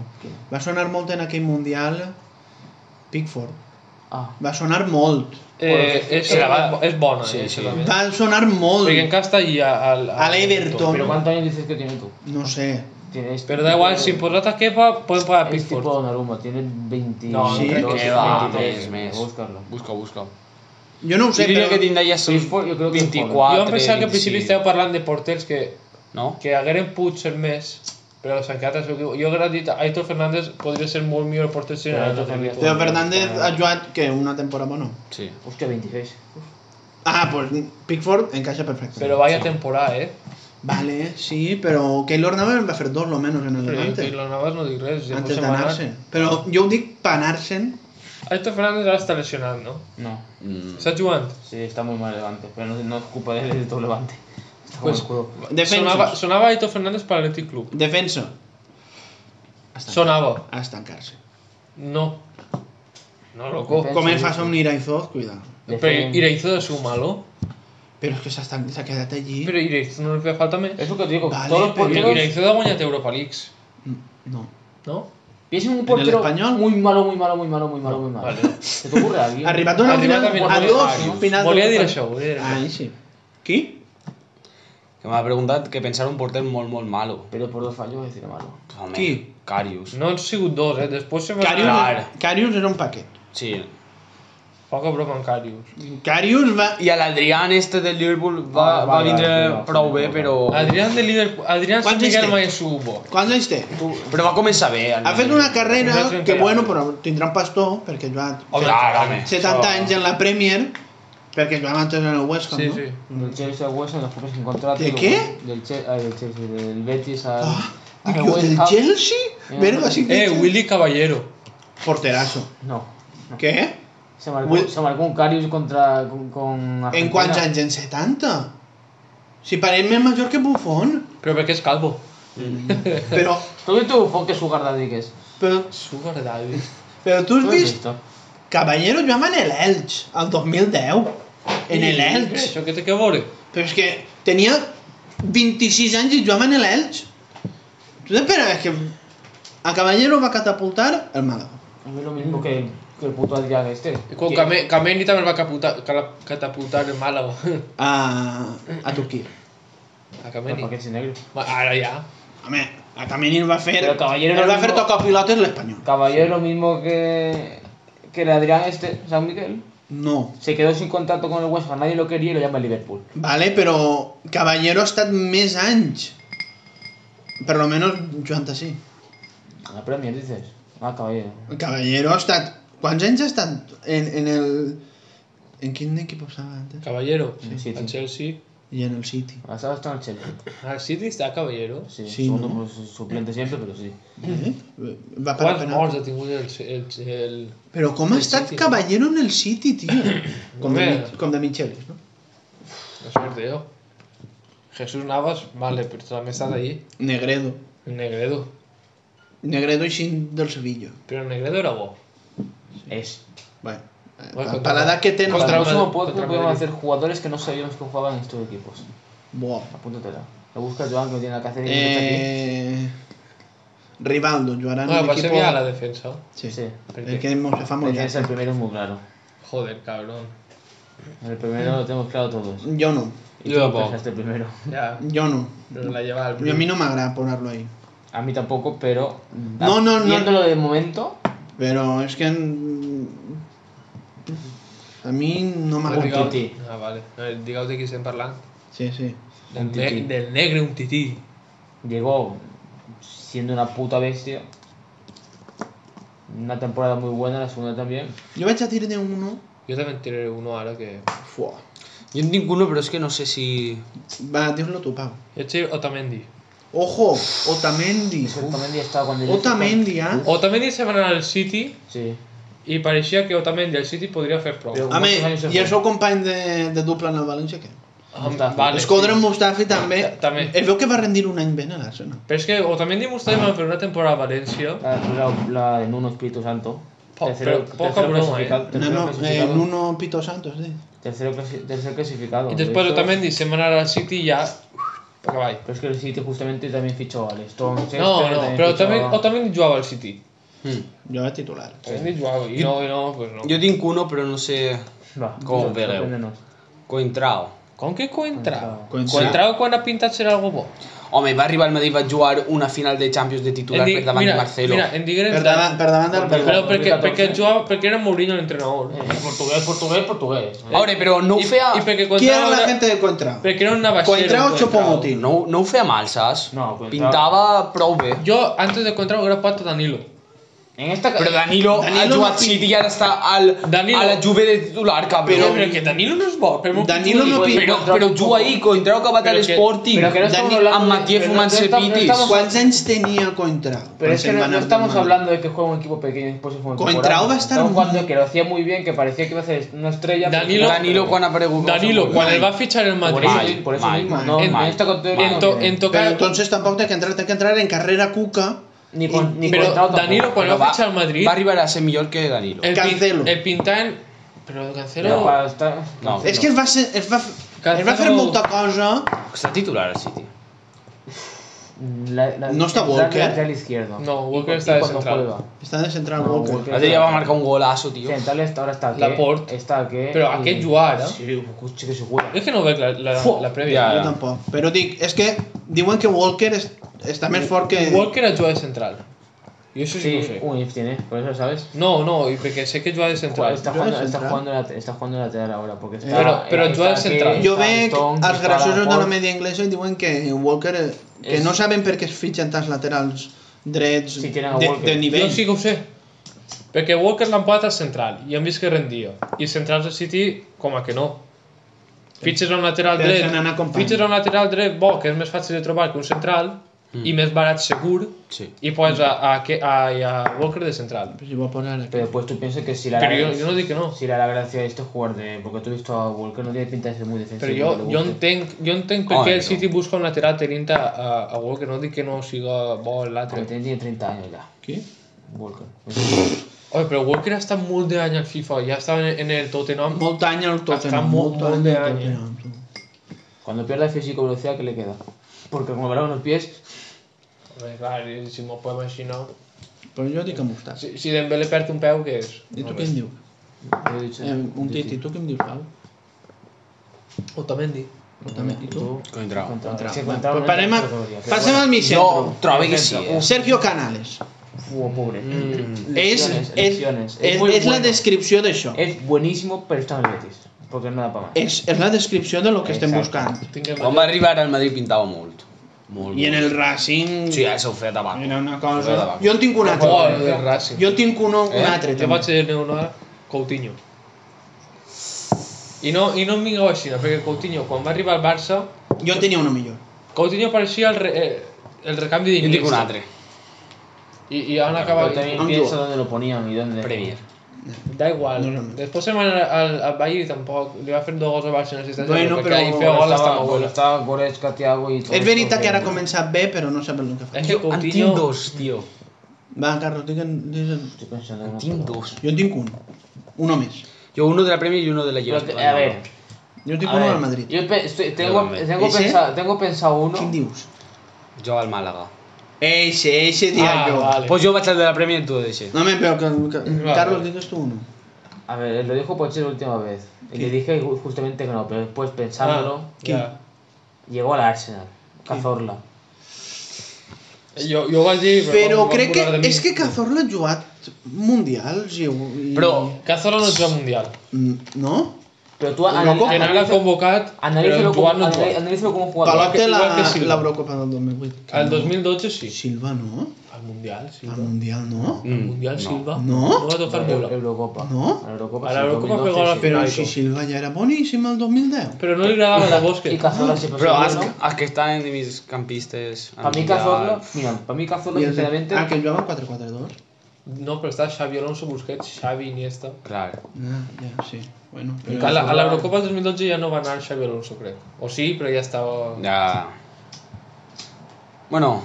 Speaker 1: va sonar molt en aquell Mundial Pickford.
Speaker 3: Ah.
Speaker 1: Va sonar molt.
Speaker 2: Eh, és, és bona,
Speaker 4: Sí,
Speaker 2: eh,
Speaker 4: sí.
Speaker 2: també.
Speaker 1: Va sonar molt.
Speaker 2: Perquè encara està allà al...
Speaker 1: A l'Everton.
Speaker 3: Pero ¿cuántos años dices que tiene tú?
Speaker 1: No sé.
Speaker 3: Tienes...
Speaker 2: Però da igual, si posat a Kepa, podem posar a
Speaker 3: Es tipo
Speaker 2: Pickford.
Speaker 3: Donnarumma, tiene 20...
Speaker 2: No,
Speaker 1: Sí,
Speaker 4: crec que va, més, més.
Speaker 3: Voy a buscarlo.
Speaker 4: Busca, busca.
Speaker 1: Jo no ho
Speaker 4: Jo
Speaker 1: sé,
Speaker 4: diria
Speaker 1: però...
Speaker 4: que tindrà ja
Speaker 3: Sí,
Speaker 4: són
Speaker 3: jo crec que és
Speaker 4: 24,
Speaker 2: Jo em pensava que al principi
Speaker 4: 25,
Speaker 2: estava parlant de porters que,
Speaker 4: No?
Speaker 2: que hagueren pogut ser més, però s'han quedat al seu equip. Jo hauria dit, Aitor Fernández podria ser molt millor porter si no
Speaker 3: Però
Speaker 2: Aitor
Speaker 3: Aitor
Speaker 2: Fernández.
Speaker 1: Teo Fernández ha jugat, que una temporada no.
Speaker 4: Sí.
Speaker 3: Hostia, 26.
Speaker 1: Ah, doncs pues Pickford encaixa perfecte.
Speaker 2: Però vaya temporada, eh?
Speaker 1: Vale, sí, però Keylor Navas en va fer dos, lo menos, en el
Speaker 2: Però jo,
Speaker 1: Levante.
Speaker 2: Keylor Navas no dic res.
Speaker 1: Antes d'anar-se'n. Però jo ho dic per anar-se'n.
Speaker 2: Aitor Fernández ara està lesionat, no?
Speaker 3: No.
Speaker 4: Mm.
Speaker 2: Està jugant?
Speaker 3: Sí, está muy mal Levante, pero no, no es culpa de él, es de todo Levante. Está como
Speaker 2: Pues-
Speaker 3: el culo.
Speaker 1: Defensos.
Speaker 2: Sonava, sonava Aitor Fernández per l'Atlètic Club.
Speaker 1: Defensa.
Speaker 2: Sonava.
Speaker 1: A estancar-se.
Speaker 2: No. No, loco.
Speaker 3: Defensa.
Speaker 1: Com el fa somnir a Izoz, cuidado.
Speaker 2: Però Ireizo de su malo.
Speaker 1: Però és que s'ha estan- s'ha quedat allí.
Speaker 2: Però Ireizo no li feia falta més.
Speaker 3: Es lo que te digo,
Speaker 1: Vale,
Speaker 3: todos los
Speaker 1: pero-
Speaker 2: Perquè
Speaker 3: porteros...
Speaker 2: Ireizo ha guanyat Europa Leagues,
Speaker 1: Mm, No.
Speaker 2: no?
Speaker 3: Piensa en un
Speaker 1: el
Speaker 3: portero
Speaker 1: español?
Speaker 3: muy malo, muy malo, muy malo, muy malo, muy malo.
Speaker 2: Vale.
Speaker 3: ¿Se te ocurre a alguien?
Speaker 1: Arribat a una
Speaker 2: Arribat
Speaker 1: final,
Speaker 2: a
Speaker 1: a
Speaker 2: finals,
Speaker 1: dos finals.
Speaker 2: Volia
Speaker 1: de
Speaker 2: dir
Speaker 1: Copa.
Speaker 2: això, volia dir això.
Speaker 1: Ah, sí. Qui?
Speaker 4: Que m'ha preguntat que pensar un porter molt, molt malo.
Speaker 3: Pero por dos fallos decir malo.
Speaker 4: Home,
Speaker 1: Qui?
Speaker 4: Carius.
Speaker 2: No han sigut dos, eh? Després se va...
Speaker 1: Carius,
Speaker 4: Clar.
Speaker 1: Carius era un paquet.
Speaker 4: Sí.
Speaker 2: Poca broma en Carius.
Speaker 1: Carius va...
Speaker 4: I a l'Adrián este del Liverpool va, va
Speaker 3: Ah, vale, vale,
Speaker 4: vindre
Speaker 3: vale,
Speaker 4: prou bé,
Speaker 3: vale.
Speaker 4: però...
Speaker 2: Adrián de Liverpool... Adrián San
Speaker 1: Quants
Speaker 2: Miguel
Speaker 1: anys té?
Speaker 2: mai subo.
Speaker 1: Quants anys té?
Speaker 4: Però va començar bé.
Speaker 1: Ha fet este? una carrera
Speaker 2: Nosaltres
Speaker 1: que,
Speaker 2: encara.
Speaker 1: bueno, però tindrà un pastor, perquè ha jugat
Speaker 4: Home, clar, home.
Speaker 1: 70 anys en la Premier, perquè jugava antes en el West Ham,
Speaker 2: Sí,
Speaker 1: no?
Speaker 2: sí.
Speaker 3: Del Chelsea al West Ham, los jugadores sin contrato.
Speaker 1: ¿De qué?
Speaker 3: Del, Che- ah, del Chelsea, del Betis al...
Speaker 1: Ah,
Speaker 3: al
Speaker 1: Dic jo,
Speaker 3: West
Speaker 1: del
Speaker 3: Ham.
Speaker 1: Chelsea?
Speaker 3: Eh,
Speaker 1: Verga, sí que...
Speaker 2: Eh, Willy Caballero.
Speaker 1: Porterazo.
Speaker 3: No.
Speaker 2: Ah.
Speaker 1: Què?
Speaker 3: Se marcó,
Speaker 1: Will-
Speaker 3: se marcó un Carius contra... con, con
Speaker 1: En
Speaker 3: Argentina.
Speaker 1: quants anys? En 70? Si parem més major que Buffon.
Speaker 2: Però perquè és calvo.
Speaker 1: Però,
Speaker 3: ¿Tú viste Buffon que es su guarda que es?
Speaker 1: però,
Speaker 2: Sugar Daddy.
Speaker 1: però tu
Speaker 3: ¿Tú
Speaker 1: has
Speaker 3: has
Speaker 1: vist
Speaker 3: visto?
Speaker 1: Caballero jugava en el Elx, el 2010. En el
Speaker 2: Eh,
Speaker 1: Elx.
Speaker 2: Això què té que veure?
Speaker 1: Però és que tenia 26 anys i jugava en el Elx. Tu t'esperaves que a Caballero va catapultar el Málaga.
Speaker 3: A mí lo mismo que, que el puto Adrián este.
Speaker 2: I Quan Camé- Cameni també el va caputar- cala- catapultar el Màlaga.
Speaker 1: A, a Turquía.
Speaker 2: A
Speaker 3: Los
Speaker 2: Cameni.
Speaker 3: paquetes negros.
Speaker 2: Va, Ara ja.
Speaker 1: Home, a Camini el va fer...
Speaker 3: Però Caballero
Speaker 1: el
Speaker 3: era
Speaker 1: va fer
Speaker 3: un-
Speaker 1: tocar pilotes l'Espanyol.
Speaker 3: Caballero lo mismo que, que el Adrián este, San Miguel.
Speaker 1: No.
Speaker 3: Se quedó sin contrato con el West Ham, nadie lo quería y lo llama el Liverpool.
Speaker 1: Vale, però Caballero ha estat més anys. Per lo menos jugant així.
Speaker 3: A la Premier dices. Ah, Caballero.
Speaker 1: Caballero ha estat... Quants anys ha estat en, en el... En quin equip estava antes?
Speaker 2: Caballero.
Speaker 3: Sí, sí.
Speaker 2: El Chelsea.
Speaker 1: I en el City.
Speaker 3: Ahora está en el Chelsea.
Speaker 2: Ah, sí, está Caballero.
Speaker 3: Sí,
Speaker 1: Sí,
Speaker 3: segundo
Speaker 1: ¿no?
Speaker 3: pues, suplente siempre, pero sí.
Speaker 1: Eh?
Speaker 3: Ah,
Speaker 1: Va per
Speaker 2: Quants
Speaker 1: penal.
Speaker 2: morts ha tingut el... el, el...
Speaker 1: Però com ha
Speaker 2: El
Speaker 1: estat
Speaker 2: City, no?
Speaker 1: Caballero en el City, tio? Com de,
Speaker 2: Home.
Speaker 1: Mi- com de Michelis, no?
Speaker 2: La suerte yo. Jesús Navas, vale, pero también está de allí.
Speaker 1: Negredo.
Speaker 2: Negredo.
Speaker 1: Negredo i Xin del Sevilla.
Speaker 2: Pero Negredo era bo.
Speaker 3: Es.
Speaker 1: Bueno,
Speaker 2: Bueno,
Speaker 1: bueno
Speaker 2: contra-
Speaker 1: per l'edat que tenen...
Speaker 2: contra-
Speaker 3: Para el próximo
Speaker 2: Madrid-
Speaker 3: podcast
Speaker 2: contra
Speaker 3: podemos
Speaker 2: Madrid.
Speaker 3: hacer jugadores que no sabíamos que jugaban en estos equipos.
Speaker 1: Buah.
Speaker 3: Apúntatela. Lo busca Joan, que no tiene nada que hacer. y lo echa aquí.
Speaker 1: Eh... Rivaldo,
Speaker 3: Ah,
Speaker 1: jugarà en
Speaker 2: Bueno,
Speaker 1: un
Speaker 2: pasem
Speaker 1: equipo...
Speaker 2: ja Ah, a la defensa.
Speaker 1: Sí,
Speaker 3: Sí.
Speaker 1: Es que se fa molt
Speaker 3: Defensa, el primero es muy claro.
Speaker 2: Joder, cabrón.
Speaker 3: El primero lo tenemos claro todos.
Speaker 1: llarg. Jo no,
Speaker 3: Y
Speaker 4: Yo
Speaker 3: tú
Speaker 4: tampoco.
Speaker 3: pensaste primero.
Speaker 2: Ya,
Speaker 1: jo no.
Speaker 2: pero la lleva al
Speaker 1: I a mi no m'agrada ponerlo ahí.
Speaker 3: A mí tampoco, pero.
Speaker 1: No, no, no.
Speaker 3: Viéndolo de momento,
Speaker 1: Pero es que... en- A mí no m'agrada.
Speaker 2: Digau-
Speaker 3: tití.
Speaker 2: Ah, vale. No, Digueu de qui estem parlant.
Speaker 1: Sí, sí.
Speaker 3: un
Speaker 2: Ne-
Speaker 3: tití.
Speaker 2: del negre, un tití.
Speaker 3: llegó siendo una puta bestia. Una temporada muy buena, la segunda también.
Speaker 1: Yo voy a tirar de uno.
Speaker 2: Jo també en tiraré uno ara que...
Speaker 1: Fuà.
Speaker 4: Yo en ninguno, pero es que no sé si.
Speaker 1: Va, dios-lo tu, Pau.
Speaker 2: Jo et tiro Otamendi.
Speaker 1: Ojo, Otamendi.
Speaker 3: Es que Otamendi estaba cuando yo-
Speaker 1: Otamendi, eh?
Speaker 2: Otamendi se va anar al City
Speaker 3: Sí.
Speaker 2: i pareixia que Otamendi al City podria fer prou.
Speaker 3: Però-
Speaker 1: A mi,
Speaker 3: Quantos anys
Speaker 1: i el
Speaker 3: fa?
Speaker 1: seu company de, de dupla en el València, què?
Speaker 2: Ah,
Speaker 1: Um.
Speaker 3: Mustafi.
Speaker 2: vale,
Speaker 1: Es Escodra
Speaker 2: sí.
Speaker 1: Mustafi també.
Speaker 2: Ta- també.
Speaker 1: Es veu que va rendir un any ben a l'Arsenal.
Speaker 2: Però és que Otamendi i Mustafi van fer una temporada a València.
Speaker 3: La, la, la de Nuno Espíritu Santo.
Speaker 2: Po- pero poca broma,
Speaker 3: clasificado-
Speaker 1: No,
Speaker 3: tercero
Speaker 1: no, eh,
Speaker 3: clasificado.
Speaker 1: Nuno Pito Santos, sí.
Speaker 3: Tercero, clasi- tercer clasificado.
Speaker 2: I després
Speaker 3: Esto-
Speaker 2: Otamendi se va anar al City i ja... Pa cavall.
Speaker 3: Pero es que el City justamente también fichó al Stone.
Speaker 2: No, no, però Otamendi, Otamendi jugava al City.
Speaker 4: Hmm.
Speaker 1: Jo era titular.
Speaker 2: Otamendi jugava i no, i no, pues no.
Speaker 4: Yo tinc uno, pero no sé.
Speaker 3: Va,
Speaker 4: Como
Speaker 3: no,
Speaker 4: Peleu.
Speaker 3: sorpréndenos.
Speaker 4: Coentrao.
Speaker 2: Com que Coentrao?
Speaker 1: Coentrao.
Speaker 2: Coentrao quan ha pintat serà algo bo.
Speaker 4: Home, va arribar al Madrid, va jugar una final de Champions de titular
Speaker 2: En di-
Speaker 4: per davant de
Speaker 2: mira,
Speaker 4: Marcelo.
Speaker 2: Mira, en digueren...
Speaker 1: Per davant, per davant del
Speaker 2: Però,
Speaker 1: Barça.
Speaker 2: perquè,
Speaker 3: 2014.
Speaker 2: perquè, jugava, perquè era Mourinho l'entrenador.
Speaker 3: Eh, portugués, portugués, portugués.
Speaker 4: A veure, però no ho
Speaker 2: I,
Speaker 4: feia...
Speaker 2: I perquè
Speaker 1: Qui era
Speaker 2: Contrao
Speaker 1: la
Speaker 2: era,
Speaker 1: gent de Contrao?
Speaker 2: perquè era un navaixero.
Speaker 1: Contrao o Chopomotín?
Speaker 4: No, no ho feia mal, saps?
Speaker 3: No, Coentrao-
Speaker 4: Pintava prou bé.
Speaker 2: Jo, antes de Contrao, era Pato Danilo.
Speaker 3: En esta
Speaker 4: Però Danilo,
Speaker 1: Danilo
Speaker 4: ha jugat
Speaker 1: no pi-
Speaker 4: City i ara està al,
Speaker 2: Danilo-
Speaker 4: a la Juve de titular,
Speaker 2: Però,
Speaker 4: cabrón.
Speaker 2: però que Danilo no és bo. Però
Speaker 1: Danilo no
Speaker 2: Però,
Speaker 1: pinta.
Speaker 4: Però,
Speaker 2: però,
Speaker 4: però juga ahí, contra el que va
Speaker 2: Però
Speaker 4: tal
Speaker 2: que-
Speaker 4: Sporting,
Speaker 3: pero que no estamos
Speaker 4: Dani-
Speaker 3: hablando
Speaker 4: amb
Speaker 3: de-
Speaker 4: Matías
Speaker 3: pero no
Speaker 4: fumant-se
Speaker 3: estamos- no
Speaker 4: pitis.
Speaker 3: estamos-
Speaker 1: Quants anys tenia Contrao?
Speaker 3: Pero es que no, no estamos
Speaker 1: hablando
Speaker 3: hablando de que juega un equipo pequeño después de jugar
Speaker 1: Con Trauba estar
Speaker 3: Estamos
Speaker 1: muy-
Speaker 3: jugando que lo hacía muy bien, que parecía que iba a ser una estrella. pero-
Speaker 2: Danilo-
Speaker 4: Danilo quan ha aparegut.
Speaker 2: Danilo,
Speaker 4: no s'ha
Speaker 2: quan el va fitxar el
Speaker 3: Por
Speaker 2: Madrid...
Speaker 3: eso,
Speaker 4: Mal,
Speaker 3: por eso
Speaker 4: mal,
Speaker 3: mismo.
Speaker 1: mal,
Speaker 3: no,
Speaker 2: mal.
Speaker 3: en esta contra-
Speaker 2: En, to, en tocar...
Speaker 1: Però entonces tampoc té que entrar, té que entrar en carrera cuca.
Speaker 3: Ni con, ni
Speaker 2: Pero
Speaker 3: con Trauba tampoco.
Speaker 2: Danilo quan
Speaker 4: mogut.
Speaker 2: el va fitxar el Madrid...
Speaker 4: va arribar a ser millor que Danilo.
Speaker 3: Eh,
Speaker 2: el, pin-
Speaker 1: Cancelo.
Speaker 2: El pintant... Però
Speaker 3: Pero
Speaker 2: Cancelo...
Speaker 3: para estar-
Speaker 4: No.
Speaker 1: És que es va, ser, es va, es va fer
Speaker 2: Cancelo-
Speaker 1: molta cosa.
Speaker 4: Està titular al City.
Speaker 3: La- la-
Speaker 1: No está
Speaker 3: la-
Speaker 1: Walker.
Speaker 3: lateral izquierdo.
Speaker 2: No,
Speaker 3: Y
Speaker 2: Walker
Speaker 3: cu- y
Speaker 2: está de
Speaker 3: cuando
Speaker 2: central.
Speaker 3: juega.
Speaker 1: Està de central
Speaker 3: No,
Speaker 1: Ah, Walker.
Speaker 3: Walker.
Speaker 4: L'altre dia va marcar un golazo, tio.
Speaker 3: Central está- ahora está que.
Speaker 2: Laporte.
Speaker 3: Está que.
Speaker 2: Pero a
Speaker 3: Mm.
Speaker 2: qué jugar, ¿eh?
Speaker 3: Sí, escuche que se juega.
Speaker 2: És que no veig la, la,
Speaker 3: Fu-
Speaker 2: la prèvia.
Speaker 4: Ja,
Speaker 1: Jo tampoc. Però dic, és que diuen que Walker es, està més fort que...
Speaker 2: Walker ha jugat de central. I això sí, que ho
Speaker 3: Sí,
Speaker 2: sé.
Speaker 3: un IF tiene, por eso sabes.
Speaker 2: No, no, i perquè sé que jugava de
Speaker 3: Juega-
Speaker 2: central.
Speaker 3: Está
Speaker 1: Yo era
Speaker 3: jugando, está
Speaker 1: central.
Speaker 3: jugando late- está jugando lateral ahora porque está,
Speaker 2: Pero- pero
Speaker 3: está
Speaker 2: yo era
Speaker 3: que-
Speaker 2: central.
Speaker 3: está
Speaker 1: Jo veig
Speaker 3: Stone,
Speaker 1: els
Speaker 3: está
Speaker 1: graciosos de la
Speaker 3: Laporte.
Speaker 1: media anglesa i diuen que Walker... eh, Que
Speaker 3: És-
Speaker 1: no saben per què es fitxen tants laterals drets
Speaker 3: Sí, tenen a
Speaker 1: de,
Speaker 3: Walker.
Speaker 1: de
Speaker 2: Jo
Speaker 1: nivell.
Speaker 2: sí que ho sé. Perquè Walker l'han posat al central i hem vist que rendia. I centrals del City, com a que no. Fitxes a un lateral
Speaker 1: Però
Speaker 2: dret,
Speaker 1: se n'han acompanyat.
Speaker 2: fitxes a un lateral dret bo, que és més fàcil de trobar que un central,
Speaker 4: Mm.
Speaker 2: i més barat segur,
Speaker 4: Sí.
Speaker 2: i poses a, a, que- a, i a Walker de central.
Speaker 1: Però si vol posar aquí.
Speaker 3: Pero después tú piensas que si la
Speaker 2: Però jo, jo no dic que no.
Speaker 3: si la, la gracia de esto es jugar de. Porque tú has visto a Walker, no tiene pinta de ser muy defensivo.
Speaker 2: Però jo,
Speaker 3: que le
Speaker 2: jo
Speaker 3: guste.
Speaker 2: entenc, jo entenc per
Speaker 4: Home,
Speaker 2: què el
Speaker 4: no.
Speaker 2: City busca un lateral tenint a, a, a Walker, no dic que no siga bo l'altre.
Speaker 3: Porque tiene tiene 30 años ya,
Speaker 1: Qui?
Speaker 3: Walker. Pues
Speaker 2: Oi, però Walker ha estat molt d'any al FIFA, ja estava en, en el Tottenham.
Speaker 1: Molt any al Tottenham.
Speaker 2: molt,
Speaker 1: any
Speaker 2: molt de
Speaker 1: al
Speaker 2: any, eh?
Speaker 1: Tottenham.
Speaker 3: Cuando pierda físico velocidad, ¿qué le queda? Porque como verá unos pies.
Speaker 2: Home, clar, i si m'ho podem imaginar...
Speaker 1: Però jo dic a Mustafi.
Speaker 2: Si, si Dembélé perd un peu, què és?
Speaker 1: I tu
Speaker 2: No,
Speaker 1: què em dius?
Speaker 3: yo he dicho-
Speaker 1: Eh, un titi, tu què em dius, Pau?
Speaker 2: Otamendi.
Speaker 1: Tu també, I tu?
Speaker 4: Contra.
Speaker 3: Contra-
Speaker 1: Contra.
Speaker 3: sí,
Speaker 1: Bueno,
Speaker 3: contra-
Speaker 1: pues parem, a-
Speaker 3: otro día, pero
Speaker 1: passem al mig
Speaker 4: Jo
Speaker 1: centre.
Speaker 4: trobo que sí, eh?
Speaker 1: Sergio Canales.
Speaker 3: Fua, pobre.
Speaker 2: Mm.
Speaker 1: És,
Speaker 3: Lesiones,
Speaker 1: és,
Speaker 3: lesiones.
Speaker 1: és,
Speaker 3: muy
Speaker 1: és la
Speaker 3: bueno.
Speaker 1: descripció d'això.
Speaker 3: Es buenísimo, pero está en el Betis. Porque no da para más.
Speaker 1: És, és la descripció de lo que estem
Speaker 3: Exacte.
Speaker 1: buscant.
Speaker 2: Tinc el
Speaker 4: Quan va arribar al Madrid pintava molt. Molt.
Speaker 1: I en el
Speaker 4: molt.
Speaker 1: Racing...
Speaker 4: Sí, ja s'ho feia tabac.
Speaker 1: Era una
Speaker 4: Era
Speaker 1: cosa...
Speaker 4: davant.
Speaker 1: Jo en tinc un altre.
Speaker 2: gol del Racing.
Speaker 1: Jo en tinc un, un
Speaker 4: Eh?
Speaker 1: altre,
Speaker 2: Te
Speaker 1: també.
Speaker 2: vaig dir una hora, Coutinho. I no, i no em vingueu així, no, perquè Coutinho, quan va arribar al Barça,
Speaker 1: Jo en tenia una millor.
Speaker 2: Coutinho pareixia el, re, eh, el recanvi
Speaker 4: Jo en
Speaker 2: d'Iniesta.
Speaker 4: dic un altre.
Speaker 2: I, i han
Speaker 3: Pero
Speaker 2: acabat...
Speaker 3: también
Speaker 1: un
Speaker 3: piensa
Speaker 1: jugador.
Speaker 3: dónde lo ponían y dónde.
Speaker 4: Premier.
Speaker 2: Da igual.
Speaker 1: No, no, no.
Speaker 2: Després se'n va anar al, al Bayern i tampoc. Li va fer dos gols al Barça en assistència.
Speaker 1: Bueno,
Speaker 2: perquè
Speaker 1: però-
Speaker 2: ahir feia
Speaker 3: Ahora
Speaker 2: gol
Speaker 3: estaba,
Speaker 2: hasta
Speaker 3: ahora
Speaker 2: Maguela.
Speaker 3: estaba Goretzka, Thiago y todo
Speaker 1: És
Speaker 3: esto,
Speaker 1: veritat que
Speaker 3: pero-
Speaker 1: ara ha començat bé, però no sabem el que fa.
Speaker 2: És que
Speaker 4: En
Speaker 2: Coutinho...
Speaker 4: tinc dos, tio.
Speaker 1: Va, Carlos, digue'n... digue'n-
Speaker 3: Estoy pensando en
Speaker 4: En
Speaker 3: una
Speaker 4: tinc
Speaker 3: cosa.
Speaker 4: dos.
Speaker 1: Jo en tinc un. Uno més.
Speaker 4: Jo uno de la Premier i uno de la Lliga.
Speaker 3: Pero te- a ver,
Speaker 1: Jo estic
Speaker 3: A
Speaker 1: uno
Speaker 3: ver,
Speaker 1: al Madrid.
Speaker 3: Yo pe- estoy-
Speaker 4: Yo
Speaker 3: tengo,
Speaker 4: también.
Speaker 3: tengo,
Speaker 1: ¿Ese?
Speaker 3: pensado, tengo pensado uno.
Speaker 1: Quin dius?
Speaker 4: Jo al Màlaga.
Speaker 1: Eixe, eixe dia
Speaker 2: Ah,
Speaker 1: jo.
Speaker 2: vale.
Speaker 4: Pues jo vaig al de la Premier i tu el deixes.
Speaker 1: No, men, però que, que
Speaker 2: Vale.
Speaker 1: Carlos, digues tu uno.
Speaker 3: A ver, lo dijo Poche la última vez. Y
Speaker 1: ¿Qué?
Speaker 3: le dije ju- justamente que no, pero después
Speaker 2: Ah,
Speaker 3: pensándolo,
Speaker 1: ¿Quién?
Speaker 2: Ya.
Speaker 3: llegó al Arsenal. Cazorla.
Speaker 2: Jo, jo ho vaig dir,
Speaker 1: Però
Speaker 2: no- no
Speaker 1: crec que...
Speaker 2: volar de mi.
Speaker 1: És que Cazorla ha jugat mundials i... i-
Speaker 4: Però-
Speaker 2: Cazorla no juga al Mundial.
Speaker 1: Mm, No?
Speaker 3: Pero tú
Speaker 1: Una copa.
Speaker 2: Genal l'ha convocat, però
Speaker 3: analízalo,
Speaker 2: Joan
Speaker 3: como,
Speaker 2: no
Speaker 3: anal-
Speaker 2: juga.
Speaker 3: analízalo como jugador.
Speaker 1: Palot té la-
Speaker 2: igual que Silva.
Speaker 1: l'Eurocopa del 2008. que
Speaker 2: Al
Speaker 1: no.
Speaker 2: 2012 sí.
Speaker 1: Silva no?
Speaker 2: Al Mundial, sí.
Speaker 1: Al Mundial no?
Speaker 2: Al Mundial,
Speaker 4: no.
Speaker 2: Silva.
Speaker 1: No.
Speaker 2: No va tocar
Speaker 3: Euro-
Speaker 2: bola.
Speaker 3: Eurocopa.
Speaker 1: ¿No?
Speaker 3: La Eurocopa,
Speaker 2: A la
Speaker 3: sí,
Speaker 2: Eurocopa
Speaker 3: 2012,
Speaker 2: pegó a la
Speaker 3: sí.
Speaker 1: Però
Speaker 2: Ai,
Speaker 1: si
Speaker 2: com.
Speaker 1: Silva ja era boníssim el 2010.
Speaker 2: Però no li agradava la Bosque.
Speaker 3: Y Cazorla siempre
Speaker 4: Però
Speaker 3: fue
Speaker 4: els,
Speaker 3: bueno.
Speaker 4: els que estan en mis campistes... al
Speaker 3: Para mí
Speaker 4: Mundial-
Speaker 3: Cazorla, mira, para mí Cazorla
Speaker 1: I el-
Speaker 3: sinceramente...
Speaker 1: Ah, que jugaven 4-4-2.
Speaker 2: No, però està Xavi Alonso, Busquets, Xavi, Iniesta.
Speaker 4: Clar.
Speaker 1: Ah, ja, sí. Bueno,
Speaker 2: Que A
Speaker 1: però...
Speaker 2: la, a l'Eurocopa del 2012 ja no va anar Xavi Alonso, crec. O sí, però ja estava...
Speaker 4: Ja... Bueno,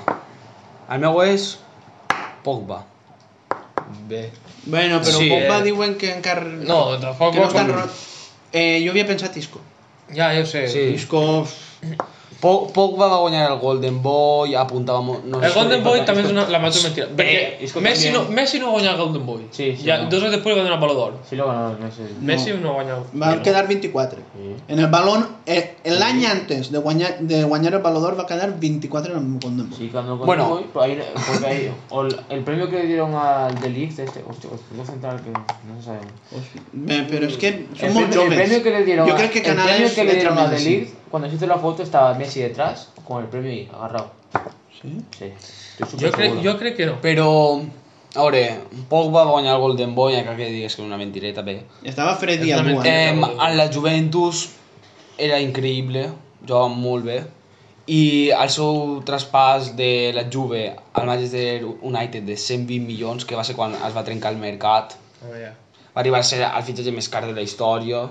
Speaker 4: el meu és... Pogba.
Speaker 2: Bé.
Speaker 1: Bueno, però
Speaker 4: Sí,
Speaker 1: Pogba
Speaker 2: eh.
Speaker 1: diuen que encara...
Speaker 2: No, tampoc...
Speaker 1: que no estan... ro- Eh, jo havia pensat Isco.
Speaker 2: Ja, ja ho sé.
Speaker 4: Sí.
Speaker 1: Isco...
Speaker 4: Po- Pogba va guanyar el Golden Boy, apuntava... molt- No
Speaker 2: El Golden Boy també és una, la major mentira.
Speaker 3: és
Speaker 2: Perquè
Speaker 3: que
Speaker 2: Messi no,
Speaker 3: també-
Speaker 2: Messi no va guanyar el Golden Boy.
Speaker 3: Sí, sí,
Speaker 2: ja,
Speaker 3: no.
Speaker 2: Dos anys després va donar el Baló d'Or.
Speaker 3: Sí, lo ganó, no sé.
Speaker 2: Messi no va guanyar...
Speaker 1: Va
Speaker 2: Ja no.
Speaker 1: quedar 24.
Speaker 3: Sí.
Speaker 1: En el balón, eh, el año antes de guañar, de guañar el valor va a quedar 24 en el Golden Boy.
Speaker 3: Sí, ganó con
Speaker 4: Bueno.
Speaker 3: bueno. porque pues ahí, o el, el premio que le dieron al The League, este, hostia, hostia, no central que no se sabe.
Speaker 1: Eh, Pero es que son
Speaker 3: el,
Speaker 1: muy
Speaker 3: premio, el
Speaker 1: jóvenes.
Speaker 3: premio que le dieron,
Speaker 1: Yo creo que
Speaker 3: el premio
Speaker 1: Canales
Speaker 3: que le
Speaker 1: entra
Speaker 3: dieron a
Speaker 1: más
Speaker 3: The
Speaker 1: así.
Speaker 3: League, cuando se hizo la foto estaba Messi detrás con el premio ahí, agarrado.
Speaker 1: Sí.
Speaker 3: Sí. Estoy
Speaker 2: Jo
Speaker 3: súper
Speaker 2: crec,
Speaker 3: seguro.
Speaker 2: jo crec que no.
Speaker 4: Però, a veure, Pogba va guanyar el Golden Boy, encara que digues que és una mentireta, bé.
Speaker 1: Estaba Freddy
Speaker 2: Es una
Speaker 1: Aguad.
Speaker 2: mentira.
Speaker 1: Eh,
Speaker 4: Eh, en la Juventus era increïble, jugava molt bé, i el seu traspàs de la Juve al Manchester United de 120 milions, que va ser quan es va trencar el mercat,
Speaker 2: A veure.
Speaker 4: va arribar a ser el fitxatge més car de la història,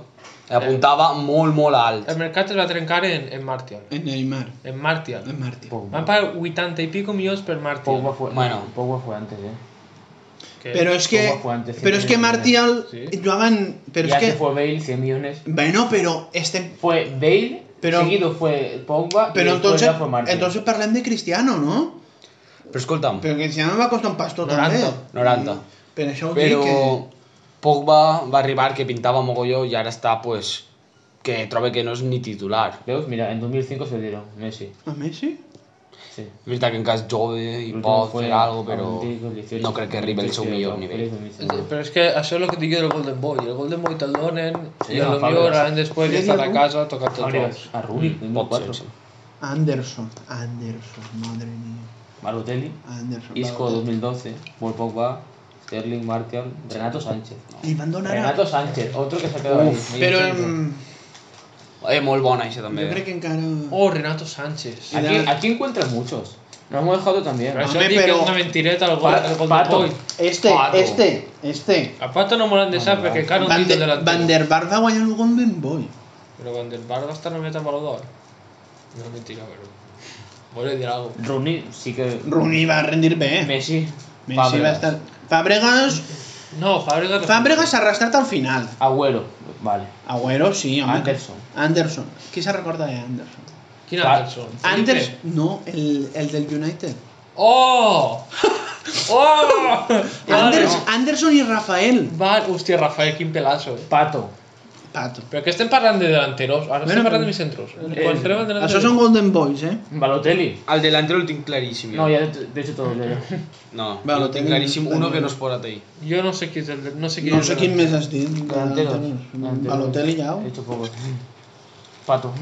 Speaker 4: apuntava molt, molt alt.
Speaker 2: El mercat es va trencar en, en Martial.
Speaker 1: en Neymar.
Speaker 2: En Martial.
Speaker 1: En Martí.
Speaker 2: Van pagar 80 i pico milions per Martial.
Speaker 3: Pogba fue,
Speaker 4: Bueno.
Speaker 3: Pogba fue antes, eh.
Speaker 2: Que-
Speaker 1: Pero es que,
Speaker 3: Pogba fue antes,
Speaker 1: pero es que
Speaker 3: siempre.
Speaker 1: Martial,
Speaker 2: Sí.
Speaker 1: Joan, pero
Speaker 3: Pero
Speaker 1: es
Speaker 3: ya que...
Speaker 1: que,
Speaker 3: fue Bale, 100 millones.
Speaker 1: bueno, pero este,
Speaker 3: Fue Bale,
Speaker 1: Pero-
Speaker 3: seguido fue Pogba, y
Speaker 1: pero
Speaker 3: después
Speaker 1: entonces,
Speaker 3: ya fue Martin.
Speaker 1: entonces parlem de Cristiano, ¿no?
Speaker 4: Però escolta'm,
Speaker 1: Pero Cristiano va a costar un pasto
Speaker 2: Noranta.
Speaker 1: también.
Speaker 4: 90.
Speaker 1: Pero eso vol dir
Speaker 4: Però
Speaker 1: que...
Speaker 4: Pogba va arribar que pintava mogolló i ara està, pues, que troba que no és ni titular.
Speaker 3: Veus, Mira, en 2005 se lo dieron, Messi.
Speaker 1: A Messi?
Speaker 3: Sí.
Speaker 4: És veritat que encara és jove i
Speaker 1: Doncs
Speaker 4: pot fer alguna cosa, però no crec que arribi al seu millor nivell.
Speaker 2: Però és que això és el que et dic del Golden Boy. El Golden Boy te'l donen,
Speaker 3: Sí,
Speaker 2: i a
Speaker 3: no,
Speaker 2: lo
Speaker 3: Fabregas.
Speaker 2: millor l'any després ja està a casa tocant els gols.
Speaker 3: Fabregas, a Rubik,
Speaker 4: Pot ser,
Speaker 3: 2004.
Speaker 4: sí.
Speaker 1: Anderson. Anderson, madre mía.
Speaker 3: Balotelli,
Speaker 1: Anderson.
Speaker 3: Isco 2012, Paul Pogba, Sterling, Martial, Renato Sánchez.
Speaker 1: Li van donar a-
Speaker 3: Renato Sánchez, otro que se ha quedado ahí.
Speaker 1: Però
Speaker 3: Aquí,
Speaker 1: em,
Speaker 4: Eh, molt bona això també.
Speaker 1: jo crec que encara...
Speaker 2: Oh, Renato Sánchez.
Speaker 3: aquí encuentran muchos. Nos hemos dejado también.
Speaker 2: Però això
Speaker 1: Home,
Speaker 2: dic que
Speaker 1: però-
Speaker 2: és una mentireta al
Speaker 3: Pa-
Speaker 2: Golden
Speaker 3: Pato.
Speaker 2: Boy.
Speaker 1: Este,
Speaker 4: Pato.
Speaker 1: este, este.
Speaker 2: A Pato no me l'han de saber perquè encara no
Speaker 1: Van,
Speaker 2: dit
Speaker 1: de,
Speaker 2: el delanter.
Speaker 1: Van der Bar va guanyar el Golden Boy.
Speaker 2: Però Van der Bar va estar nominat al Baló d'Or. No és mentira, però... Vuelve a dir alguna cosa.
Speaker 3: Rooney sí que...
Speaker 1: Rooney va rendir bé.
Speaker 3: Messi,
Speaker 1: Messi va
Speaker 3: Fabregas,
Speaker 1: estar... Fabregas...
Speaker 2: No, Fàbregas...
Speaker 1: Fabregas s'ha arrastrat al final.
Speaker 3: Agüero, vale.
Speaker 1: Agüero, sí, home.
Speaker 3: Anderson.
Speaker 1: Anderson. Qui se recorda de Anderson?
Speaker 2: Quin
Speaker 3: Fa-
Speaker 2: Anderson? Felipe?
Speaker 1: Anders... No, el, el del United.
Speaker 2: Oh! Oh!
Speaker 3: Ah,
Speaker 1: Anders, Anderson i Rafael.
Speaker 2: Val, hòstia, Rafael, quin pelazo, eh?
Speaker 3: Pato.
Speaker 1: Pato.
Speaker 2: Però que estem parlant de delanteros, ara
Speaker 1: Bueno,
Speaker 2: estem
Speaker 1: però-
Speaker 2: parlant de Eh, mis centros. Quan treu el delanter...
Speaker 1: Això són Golden Boys, eh?
Speaker 3: Balotelli.
Speaker 4: El delantero el tinc claríssim.
Speaker 3: No,
Speaker 4: No,
Speaker 3: ya te te he hecho todo el dedo.
Speaker 4: no
Speaker 1: Va,
Speaker 4: el
Speaker 1: lo
Speaker 4: tinc
Speaker 1: tinc-
Speaker 4: claríssim. Uno
Speaker 1: també.
Speaker 4: que no es pot ahir.
Speaker 2: Jo no sé qui és el... No sé, qui
Speaker 1: No
Speaker 2: és
Speaker 1: sé
Speaker 2: el
Speaker 1: quin
Speaker 2: delanter.
Speaker 1: més has dit.
Speaker 3: Delantero.
Speaker 1: Balotelli, ja.
Speaker 3: He hecho poco. Pato.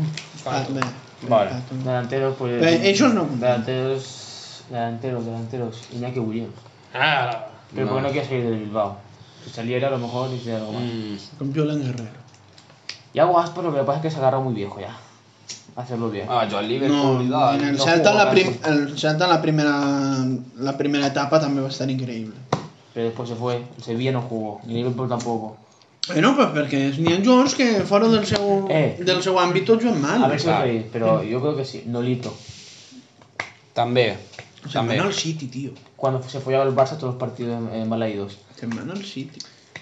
Speaker 1: Ah,
Speaker 2: Pato.
Speaker 1: bé.
Speaker 4: Vale.
Speaker 1: Pato.
Speaker 3: Delanteros, pues.
Speaker 1: Eh, ellos no.
Speaker 3: Delanteros. Delanteros, delanteros. Iñaki Williams.
Speaker 2: Ah,
Speaker 3: Pero
Speaker 4: No.
Speaker 3: porque no quiere salir del Bilbao. Si saliera, a lo mejor hiciera algo más.
Speaker 4: Mm.
Speaker 1: Com Julen Guerrero.
Speaker 3: Y hago Aspas, lo que pasa es que se agarra muy viejo ya. Hacerlo bien.
Speaker 4: Ah, jo al
Speaker 1: No,
Speaker 4: Liverpool i
Speaker 1: en
Speaker 4: tal.
Speaker 1: el
Speaker 3: no
Speaker 1: Celta,
Speaker 3: juega
Speaker 1: la prim-
Speaker 3: casi.
Speaker 1: el Celta la primera, la primera etapa també va estar increïble.
Speaker 3: Pero después se fue. El Sevilla no jugó. Ni Liverpool tampoco.
Speaker 1: Bueno, pues perquè es- n'hi ha jugadors que fora del seu,
Speaker 3: Eh.
Speaker 1: del seu àmbit tots juguen mal.
Speaker 3: A ver si os
Speaker 4: claro.
Speaker 3: reís,
Speaker 1: Mm.
Speaker 3: pero yo creo que sí. Nolito.
Speaker 4: També.
Speaker 1: Se'n
Speaker 4: També.
Speaker 1: van al City, tio.
Speaker 3: Cuando se follaba el Barça, todos los partidos eh, mal idos.
Speaker 1: Se'n van al City.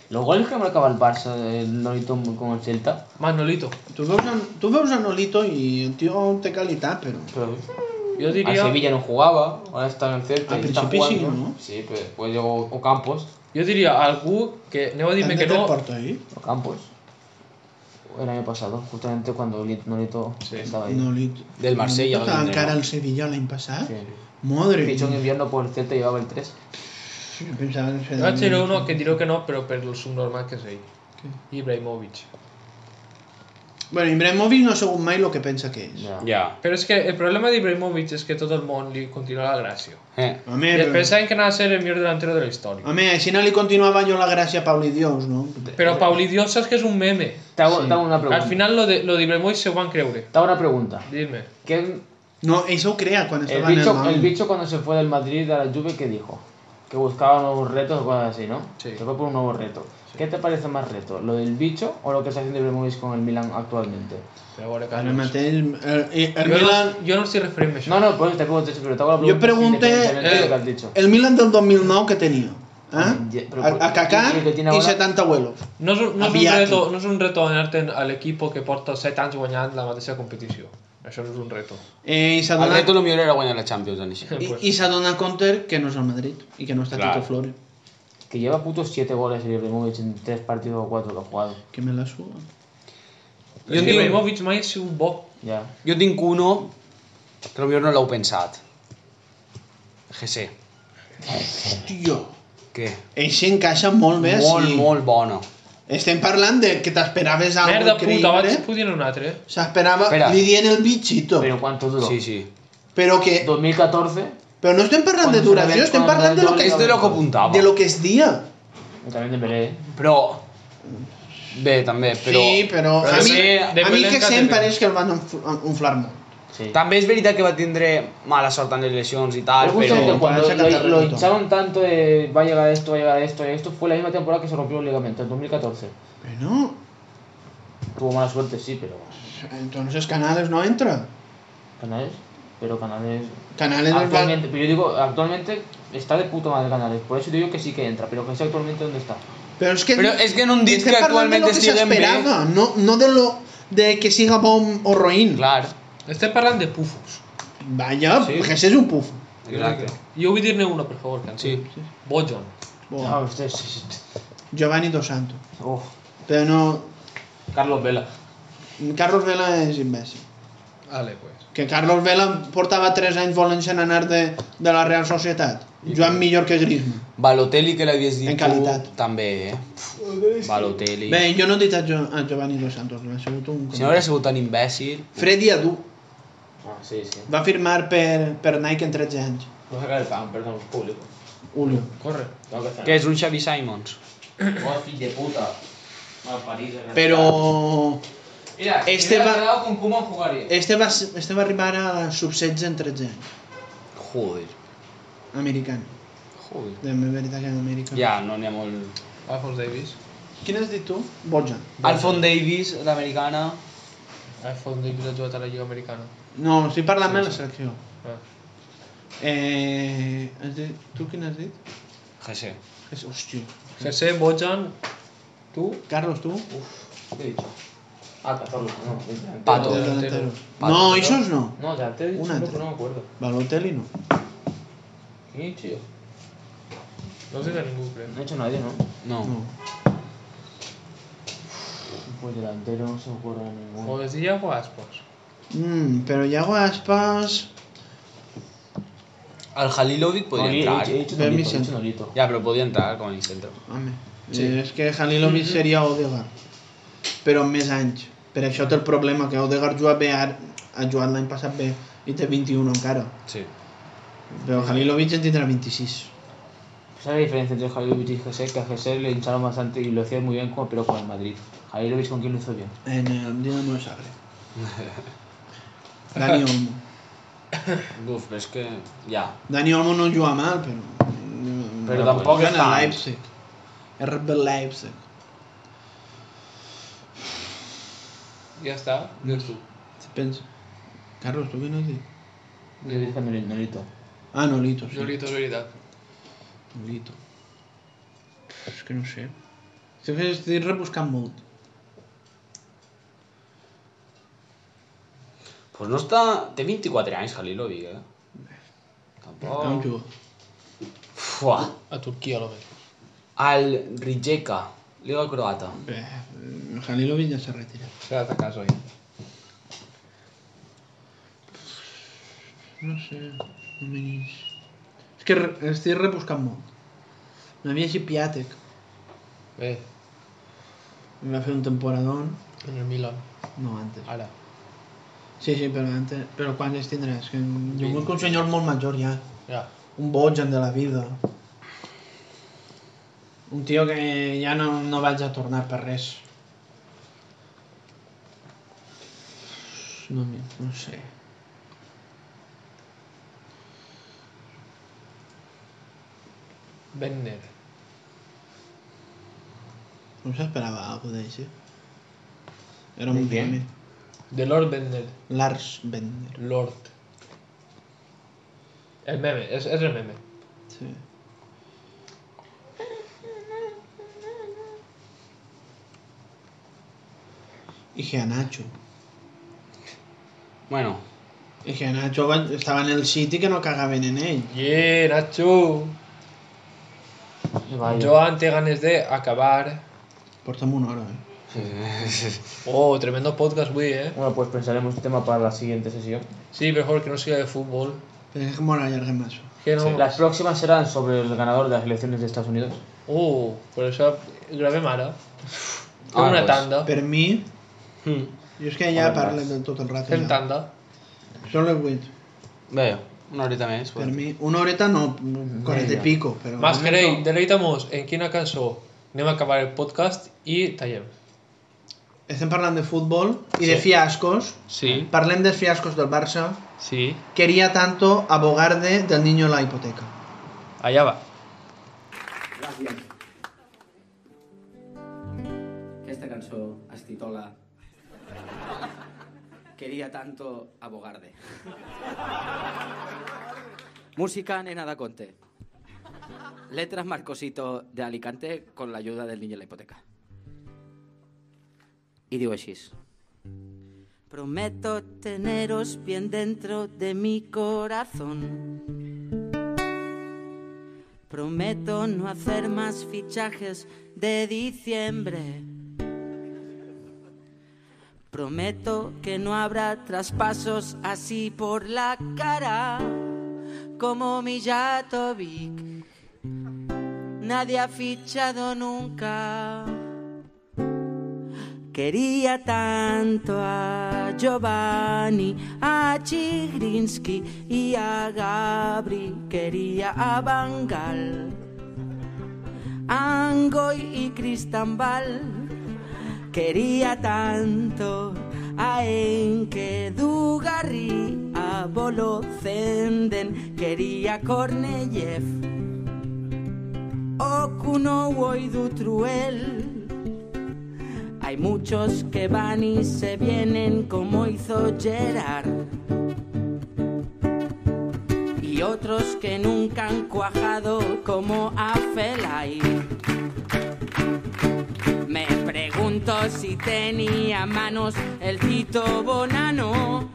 Speaker 3: Los goles que marcava el Barça, el Nolito con el Celta,
Speaker 2: Manolito.
Speaker 1: Tu veus, en, tu veus en Olito i el tio té qualitat, però...
Speaker 3: pero
Speaker 1: Ah,
Speaker 2: Yo
Speaker 3: a
Speaker 2: diría,
Speaker 3: Sevilla no jugaba, ahora está en el Celta.
Speaker 1: Al
Speaker 3: y está
Speaker 1: principio sí,
Speaker 3: jugando.
Speaker 1: ¿no?
Speaker 3: Sí, pero después llegó Ocampos.
Speaker 2: yo diría algo que. No dime
Speaker 1: Hem
Speaker 2: que
Speaker 1: de
Speaker 2: no.
Speaker 1: Porto, eh?
Speaker 3: Ocampos. El año pasado, justamente cuando Li- Nolito
Speaker 2: Sí.
Speaker 3: estaba ahí.
Speaker 1: No, li...
Speaker 4: Del Marsella,
Speaker 1: No,
Speaker 4: l'entrenador.
Speaker 1: encara al Sevilla l'any passat?
Speaker 3: Sí.
Speaker 1: Madre.
Speaker 3: Fichó en invierno por el Celta y llevaba el 3.
Speaker 1: Yo pensaba que
Speaker 2: Va a ser
Speaker 1: era
Speaker 2: uno que diré que no, pero por lo subnormal que soy. Ibrahimovic.
Speaker 1: Bueno, Ibrahimovic no ha sigut mai el que pensa que és.
Speaker 3: Ya.
Speaker 4: Ja.
Speaker 2: Pero es que el problema de Ibrahimovic es que todo el mundo le continúa la gracia.
Speaker 4: Eh.
Speaker 1: Home,
Speaker 2: Y
Speaker 1: però-
Speaker 2: pensaban que no a ser el mejor delantero de la historia.
Speaker 1: home, així no li continuava jo la gràcia a Pauli Dios, no?
Speaker 2: Pero Pauli Dios sabes que es un meme.
Speaker 3: Te hago, te hago una pregunta.
Speaker 2: Al final lo de, lo de Ibrahimovic se van a creer.
Speaker 3: Te hago una pregunta.
Speaker 2: Dime.
Speaker 3: ¿Qué,
Speaker 1: No, eso ho crea quan
Speaker 3: el,
Speaker 1: estava en el
Speaker 3: bicho,
Speaker 1: Malmo.
Speaker 3: el bicho cuando se fue del Madrid a la Juve, ¿qué dijo? Que buscaba nuevos retos o cosas así, ¿no?
Speaker 2: Sí.
Speaker 3: Se fue por un nuevo reto. ¿Qué te parece más reto? ¿Lo del bicho o lo que está haciendo Ibrahimovic con el Milan actualmente?
Speaker 2: Pero bueno,
Speaker 1: Ara
Speaker 2: Carlos.
Speaker 1: mateix, el, el, el
Speaker 2: Yo
Speaker 1: Milan...
Speaker 2: no, yo no estoy refiriendo a eso.
Speaker 3: No, no, pues te pregunto eso, pero te hago la
Speaker 1: Jo
Speaker 3: pregunta
Speaker 1: pregunté
Speaker 3: independientemente de lo que has
Speaker 2: Eh.
Speaker 1: el,
Speaker 3: dicho.
Speaker 1: el Milan del 2009 que tenia. Eh?
Speaker 3: Ja, però-
Speaker 1: A, a Kaká
Speaker 3: i el que tiene
Speaker 1: i
Speaker 3: ahora-
Speaker 1: 70 abuelos.
Speaker 2: No és, un, no, és un
Speaker 1: Aviat.
Speaker 2: reto, no és un reto anar-te'n a l'equip que porta 7 anys guanyant la mateixa competició. Això no és un reto.
Speaker 1: Eh, I s'ha
Speaker 4: El
Speaker 1: donat,
Speaker 4: reto lo millor era guanyar la Champions en així.
Speaker 1: i, i s'ha donat compte que no és el Madrid i que no està
Speaker 4: Clar.
Speaker 1: Tito Flores.
Speaker 3: Que lleva putos 7 goles el Ibrahimovic en 3 partidos o 4 que ha jugado.
Speaker 1: Que me la suda.
Speaker 4: Jo
Speaker 2: Jo
Speaker 4: en
Speaker 2: que
Speaker 4: tinc,
Speaker 2: Ibrahimovic mai ha sigut un bo.
Speaker 3: Ya.
Speaker 4: jo en tinc uno que potser no l'heu pensat. GC.
Speaker 1: Tio,
Speaker 4: Què?
Speaker 1: això encaixa molt bé.
Speaker 4: molt,
Speaker 1: sí.
Speaker 4: molt bona.
Speaker 1: Estem parlant de que t'esperaves algo
Speaker 2: Merda
Speaker 1: increïble. eh?
Speaker 2: puta, abans podien un altre. eh?
Speaker 1: S'esperava,
Speaker 4: Espera.
Speaker 1: li dien el bitxito. Però,
Speaker 3: Pero ¿cuánto duró?
Speaker 4: Sí, sí.
Speaker 1: que,
Speaker 3: 2014,
Speaker 1: però no estem parlant
Speaker 3: Quan
Speaker 1: de duració,
Speaker 3: Isabel-
Speaker 1: estem
Speaker 3: quan
Speaker 1: parlant de lo que
Speaker 4: És
Speaker 1: es,
Speaker 4: de lo que apuntava.
Speaker 1: de lo que es dia.
Speaker 3: y también ¿eh? Dembélé.
Speaker 4: Però... Bé, també, però...
Speaker 1: sí, però,
Speaker 4: però
Speaker 1: a, mi,
Speaker 4: sí,
Speaker 1: a mi
Speaker 2: depèn
Speaker 1: que
Speaker 2: de
Speaker 1: sempre
Speaker 2: cada-
Speaker 1: és que el van enf- en- inflar molt.
Speaker 3: Sí.
Speaker 4: També és veritat que va tindre mala sort en les lesions i tal,
Speaker 3: Pero
Speaker 4: però...
Speaker 3: justamente
Speaker 1: Pero-
Speaker 3: cuando
Speaker 1: Para sacar
Speaker 3: lo, lo
Speaker 1: terrenito.
Speaker 3: hincharon tanto de va a llegar esto, va a llegar esto, y esto fue la misma temporada que se rompió el ligamento, en 2014.
Speaker 1: Bueno,
Speaker 3: Tuvo mala suerte, sí, pero.
Speaker 1: entonces Canales no entra.
Speaker 3: Canales. Pero Canales.
Speaker 1: Canales es
Speaker 3: Actualmente, pero yo digo, actualmente está de puta madre Canales. Por eso digo que sí que entra, pero que sé actualmente dónde está.
Speaker 1: Pero es que,
Speaker 4: Pero es que en un disc
Speaker 1: estem
Speaker 4: que
Speaker 1: parlant de lo
Speaker 4: actualmente
Speaker 1: que
Speaker 4: estiguen
Speaker 1: s'esperava, no, no de lo de que siga bon o roïn.
Speaker 4: Clar,
Speaker 2: Estem parlant de pufos.
Speaker 1: Vaya,
Speaker 2: Sí.
Speaker 1: Jesús és un puf.
Speaker 4: exacte.
Speaker 2: Jo vull dir-ne una, per favor, Canto.
Speaker 4: Sí.
Speaker 2: Bojan.
Speaker 1: Buah.
Speaker 3: Ah, usted, sí, sí.
Speaker 1: Giovanni Dos Santos.
Speaker 3: Uf,
Speaker 1: Però no...
Speaker 3: Carlos Vela.
Speaker 1: Carlos Vela és imbècil.
Speaker 2: Ale, pues.
Speaker 1: Que Carlos Vela portava 3 anys volent-se'n anar de, de la Real Societat. Joan millor que Griezmann.
Speaker 4: Balotelli, que l'havies dit
Speaker 1: En qualitat.
Speaker 4: tu, també, eh? Balotelli.
Speaker 1: Bé, jo no he dit a, jo, a Giovanni Dos Santos, ha sigut un...
Speaker 4: Si no hauria sigut tan imbècil...
Speaker 1: Freddy Adu
Speaker 3: Ah, sí, sí.
Speaker 1: va firmar per, per Nike en 13 anys.
Speaker 3: No sacar el fan, perdón, público.
Speaker 1: Julio.
Speaker 2: Corre.
Speaker 3: Tengo que hacer.
Speaker 4: Què és un Xavi Simons?
Speaker 3: de puta. Mal París.
Speaker 1: Però
Speaker 3: Mira,
Speaker 1: si Este hubiera va-
Speaker 3: quedado con Kuman jugaría.
Speaker 1: este va, s- este va arribar a sub-16 en 13 anys.
Speaker 4: Joder.
Speaker 1: Americana.
Speaker 4: Joder.
Speaker 1: De veritat que d'Amèrica.
Speaker 4: Ja, no n'hi ha molt...
Speaker 2: Alphonse Davis.
Speaker 1: Quin has dit tu? Bojan.
Speaker 4: Alfon Davis, l'americana...
Speaker 2: Alphonse Davis ha jugat a la Lliga Americana.
Speaker 1: No, estic parlant sí, de la selecció.
Speaker 2: Ah.
Speaker 1: Eh, has dit, tu quin has dit?
Speaker 4: Jesse.
Speaker 1: És, hòstia.
Speaker 2: Jesse, Bojan, tu,
Speaker 1: Carlos, tu?
Speaker 3: ¿Qué he dicho? Ah, 14, no.
Speaker 4: Pato.
Speaker 1: Del
Speaker 2: delantero.
Speaker 1: delantero.
Speaker 4: Pato,
Speaker 1: No,
Speaker 4: però-
Speaker 1: eixos no.
Speaker 3: No, ya te he dicho,
Speaker 1: Una
Speaker 3: uno,
Speaker 1: entre-
Speaker 3: pero no me acuerdo.
Speaker 1: Balotelli no.
Speaker 3: ¿Quién he dicho yo?
Speaker 2: no sé de ningú, crec.
Speaker 3: No he hecho nadie, ¿no?
Speaker 4: No.
Speaker 1: No.
Speaker 3: Pues delantero no se me ocurre ninguno.
Speaker 2: Joder, si ja jugaràs, pues.
Speaker 1: Mm, pero Iago Aspas...
Speaker 4: El Halilovic podia
Speaker 3: Noli-
Speaker 4: entrar.
Speaker 3: He dicho
Speaker 1: Del
Speaker 3: Nolito, he
Speaker 1: Michel.
Speaker 3: dicho Nolito.
Speaker 4: Ja, però podia entrar com a centre.
Speaker 1: Home, sí. és que Halilovic seria Odegaard. Però amb més anys. Per això té el problema que Odegaard juga bé ara, ha jugat l'any passat bé i té 21 encara.
Speaker 4: Sí.
Speaker 1: Però Halilovic en tindrà 26.
Speaker 3: ¿Sabes la diferencia entre Javier y José? Que a José le hincharon bastante y lo hacía muy bien, como, pero con el Madrid. Javier Luis con quién lo hizo bien.
Speaker 1: En eh, el Dinamo de Zagreb. Dani Olmo.
Speaker 4: Uf, però és que... Ja.
Speaker 1: Dani Olmo no juga mal, però...
Speaker 4: Però tampoc
Speaker 1: Juga en
Speaker 4: està-
Speaker 1: el Leipzig. RB Leipzig.
Speaker 2: Ja està. Dius tu.
Speaker 1: Pensa. Carlos, tu què no has dit?
Speaker 3: Yo dije Noli- Nolito.
Speaker 1: Ah, Nolito, sí.
Speaker 2: Jolito, és veritat.
Speaker 1: Nolito. És que no sé. Si fes, estic rebuscant molt.
Speaker 4: Pues no està... Té 24 anys, Halilovic, eh?
Speaker 1: Oh. No em
Speaker 4: Tampoc...
Speaker 1: jugo.
Speaker 4: Fuà.
Speaker 2: A Turquia, lo menos.
Speaker 4: Al Rijeka, Liga Croata.
Speaker 1: Bé, Halilovic ja s'ha retirat.
Speaker 2: Se da caso ahí.
Speaker 1: No sé, no menys... És que re- estic rebuscant molt. M'havia així Piatek.
Speaker 2: Ve,
Speaker 1: Va fer un temporadón.
Speaker 2: en el Milan.
Speaker 1: No, antes.
Speaker 2: Ahora.
Speaker 1: Sí, sí, però antes... Però quan es tindràs? Que... Jo
Speaker 2: Vint.
Speaker 1: vull que un senyor molt major ja.
Speaker 2: Ya.
Speaker 1: un bogen de la vida. Un tio que ja no, no vaig a tornar per res. No, mi- no sé.
Speaker 2: Benner.
Speaker 1: No s'esperava alguna cosa d'així. Era
Speaker 3: De
Speaker 1: un
Speaker 3: què?
Speaker 1: game.
Speaker 2: The Lord Bender.
Speaker 1: Lars Bender.
Speaker 2: Lord. El meme, es, es el meme.
Speaker 1: Sí. I Gianacho.
Speaker 4: Bueno,
Speaker 1: I Gianacho va- estava en el City que no cagaven en ell.
Speaker 2: Yeah, Nacho.
Speaker 3: Vaya.
Speaker 2: Yo ante ganes de acabar.
Speaker 1: Porta'm una hora, eh?
Speaker 2: Oh, tremendo podcast, güey, eh.
Speaker 3: Bueno, pues pensaremos el tema para la siguiente sesión.
Speaker 2: Sí, mejor que no siga de fútbol.
Speaker 1: Pero es como la Yargen Maso.
Speaker 2: Que no.
Speaker 3: Las próximas serán sobre el ganador de las elecciones de Estados Unidos.
Speaker 2: Oh, por eso grabem ara. Fem
Speaker 4: Ah,
Speaker 2: una
Speaker 4: pues.
Speaker 2: tanda.
Speaker 1: Per mi,
Speaker 2: Hmm.
Speaker 4: mm.
Speaker 1: jo és que ja
Speaker 3: Home,
Speaker 1: parlo de tot el rato.
Speaker 2: Fem
Speaker 1: Ja.
Speaker 2: tanda.
Speaker 1: Són les 8.
Speaker 4: bé, una horeta més.
Speaker 1: Per
Speaker 4: pues.
Speaker 1: mi, una horeta no, 40 i pico, però...
Speaker 2: Más queréis, deleitamos en quina cançó anem a acabar el podcast i tallem.
Speaker 1: Estem parlant de futbol i de
Speaker 2: Sí.
Speaker 1: fiascos.
Speaker 2: Sí,
Speaker 1: Parlem dels fiascos del Barça.
Speaker 2: sí,
Speaker 1: Quería tanto abogar de del niño la hipoteca.
Speaker 2: allá va.
Speaker 5: Aquesta cançó es titola Quería tanto abogarde. Música nena da Conte. Letras Marcosito de Alicante con la ayuda del niño de la hipoteca. Y digo així.
Speaker 6: Prometo teneros bien dentro de mi corazón. Prometo no hacer más fichajes de diciembre. Prometo que no habrá traspasos así por la cara como Mijatovic. Nadie ha fichado nunca. Quería tanto a Giovanni, a Chigrinsky y a Gabri. Quería a Bangal, Angoy y Cristambal. Quería tanto a Enke, Dugarri, a Bolozenden. Quería a Korneyev, Okuno y Dutruel. Hay muchos que van y se vienen como hizo Gerard. Y otros que nunca han cuajado como a Felay. Me pregunto si tenía manos el Tito Bonano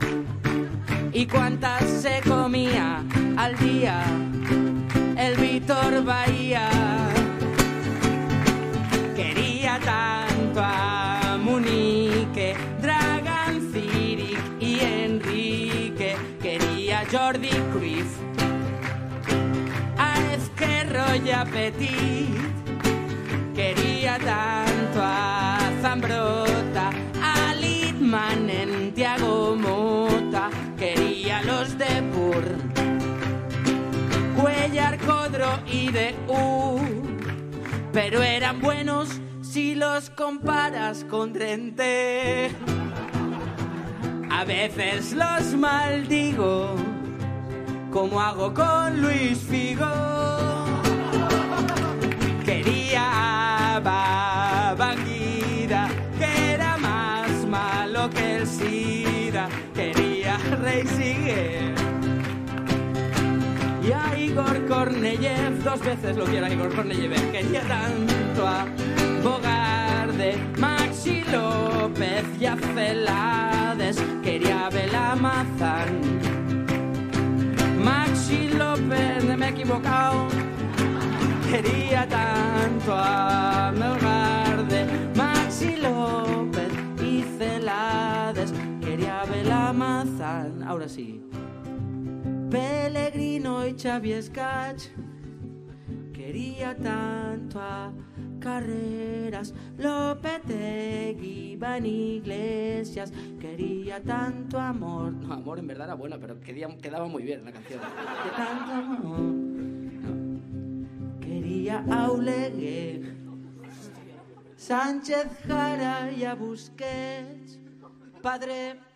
Speaker 6: y cuántas se comía al día el Víctor Bahía. Quería tanto a Munique, Dragan Ciric y Enrique. Quería a Jordi Cruyff, a Esquerro y a Petit. Quería tanto a Zambrota, a Litman en Tiago Mota. Quería a los de Burr, Cuellar, Codro y de U pero eran buenos si los comparas con Drente. A veces los maldigo, como hago con Luis Figo. Quería a Babanguida, que era más malo que el SIDA. Quería a Rey Sigue. Y a Igor Korneyev, dos veces lo quiero a Igor Korneyev, quería tanto a Bogar. de Maxi López y Afelades quería Belamazán. Maxi López, me he equivocado, quería tanto a Melgar de Maxi López y Celades quería Belamazán. Ahora sí. Pellegrino y Xavi Escach quería tanto a Carreras, Lopetegui, Van Iglesias, quería tanto amor. No, amor en verdad era buena, pero quedía- quedaba muy bien la canción. Que tanto amor. No. Quería a Oleguer, Sánchez Jara y a Busquets, padre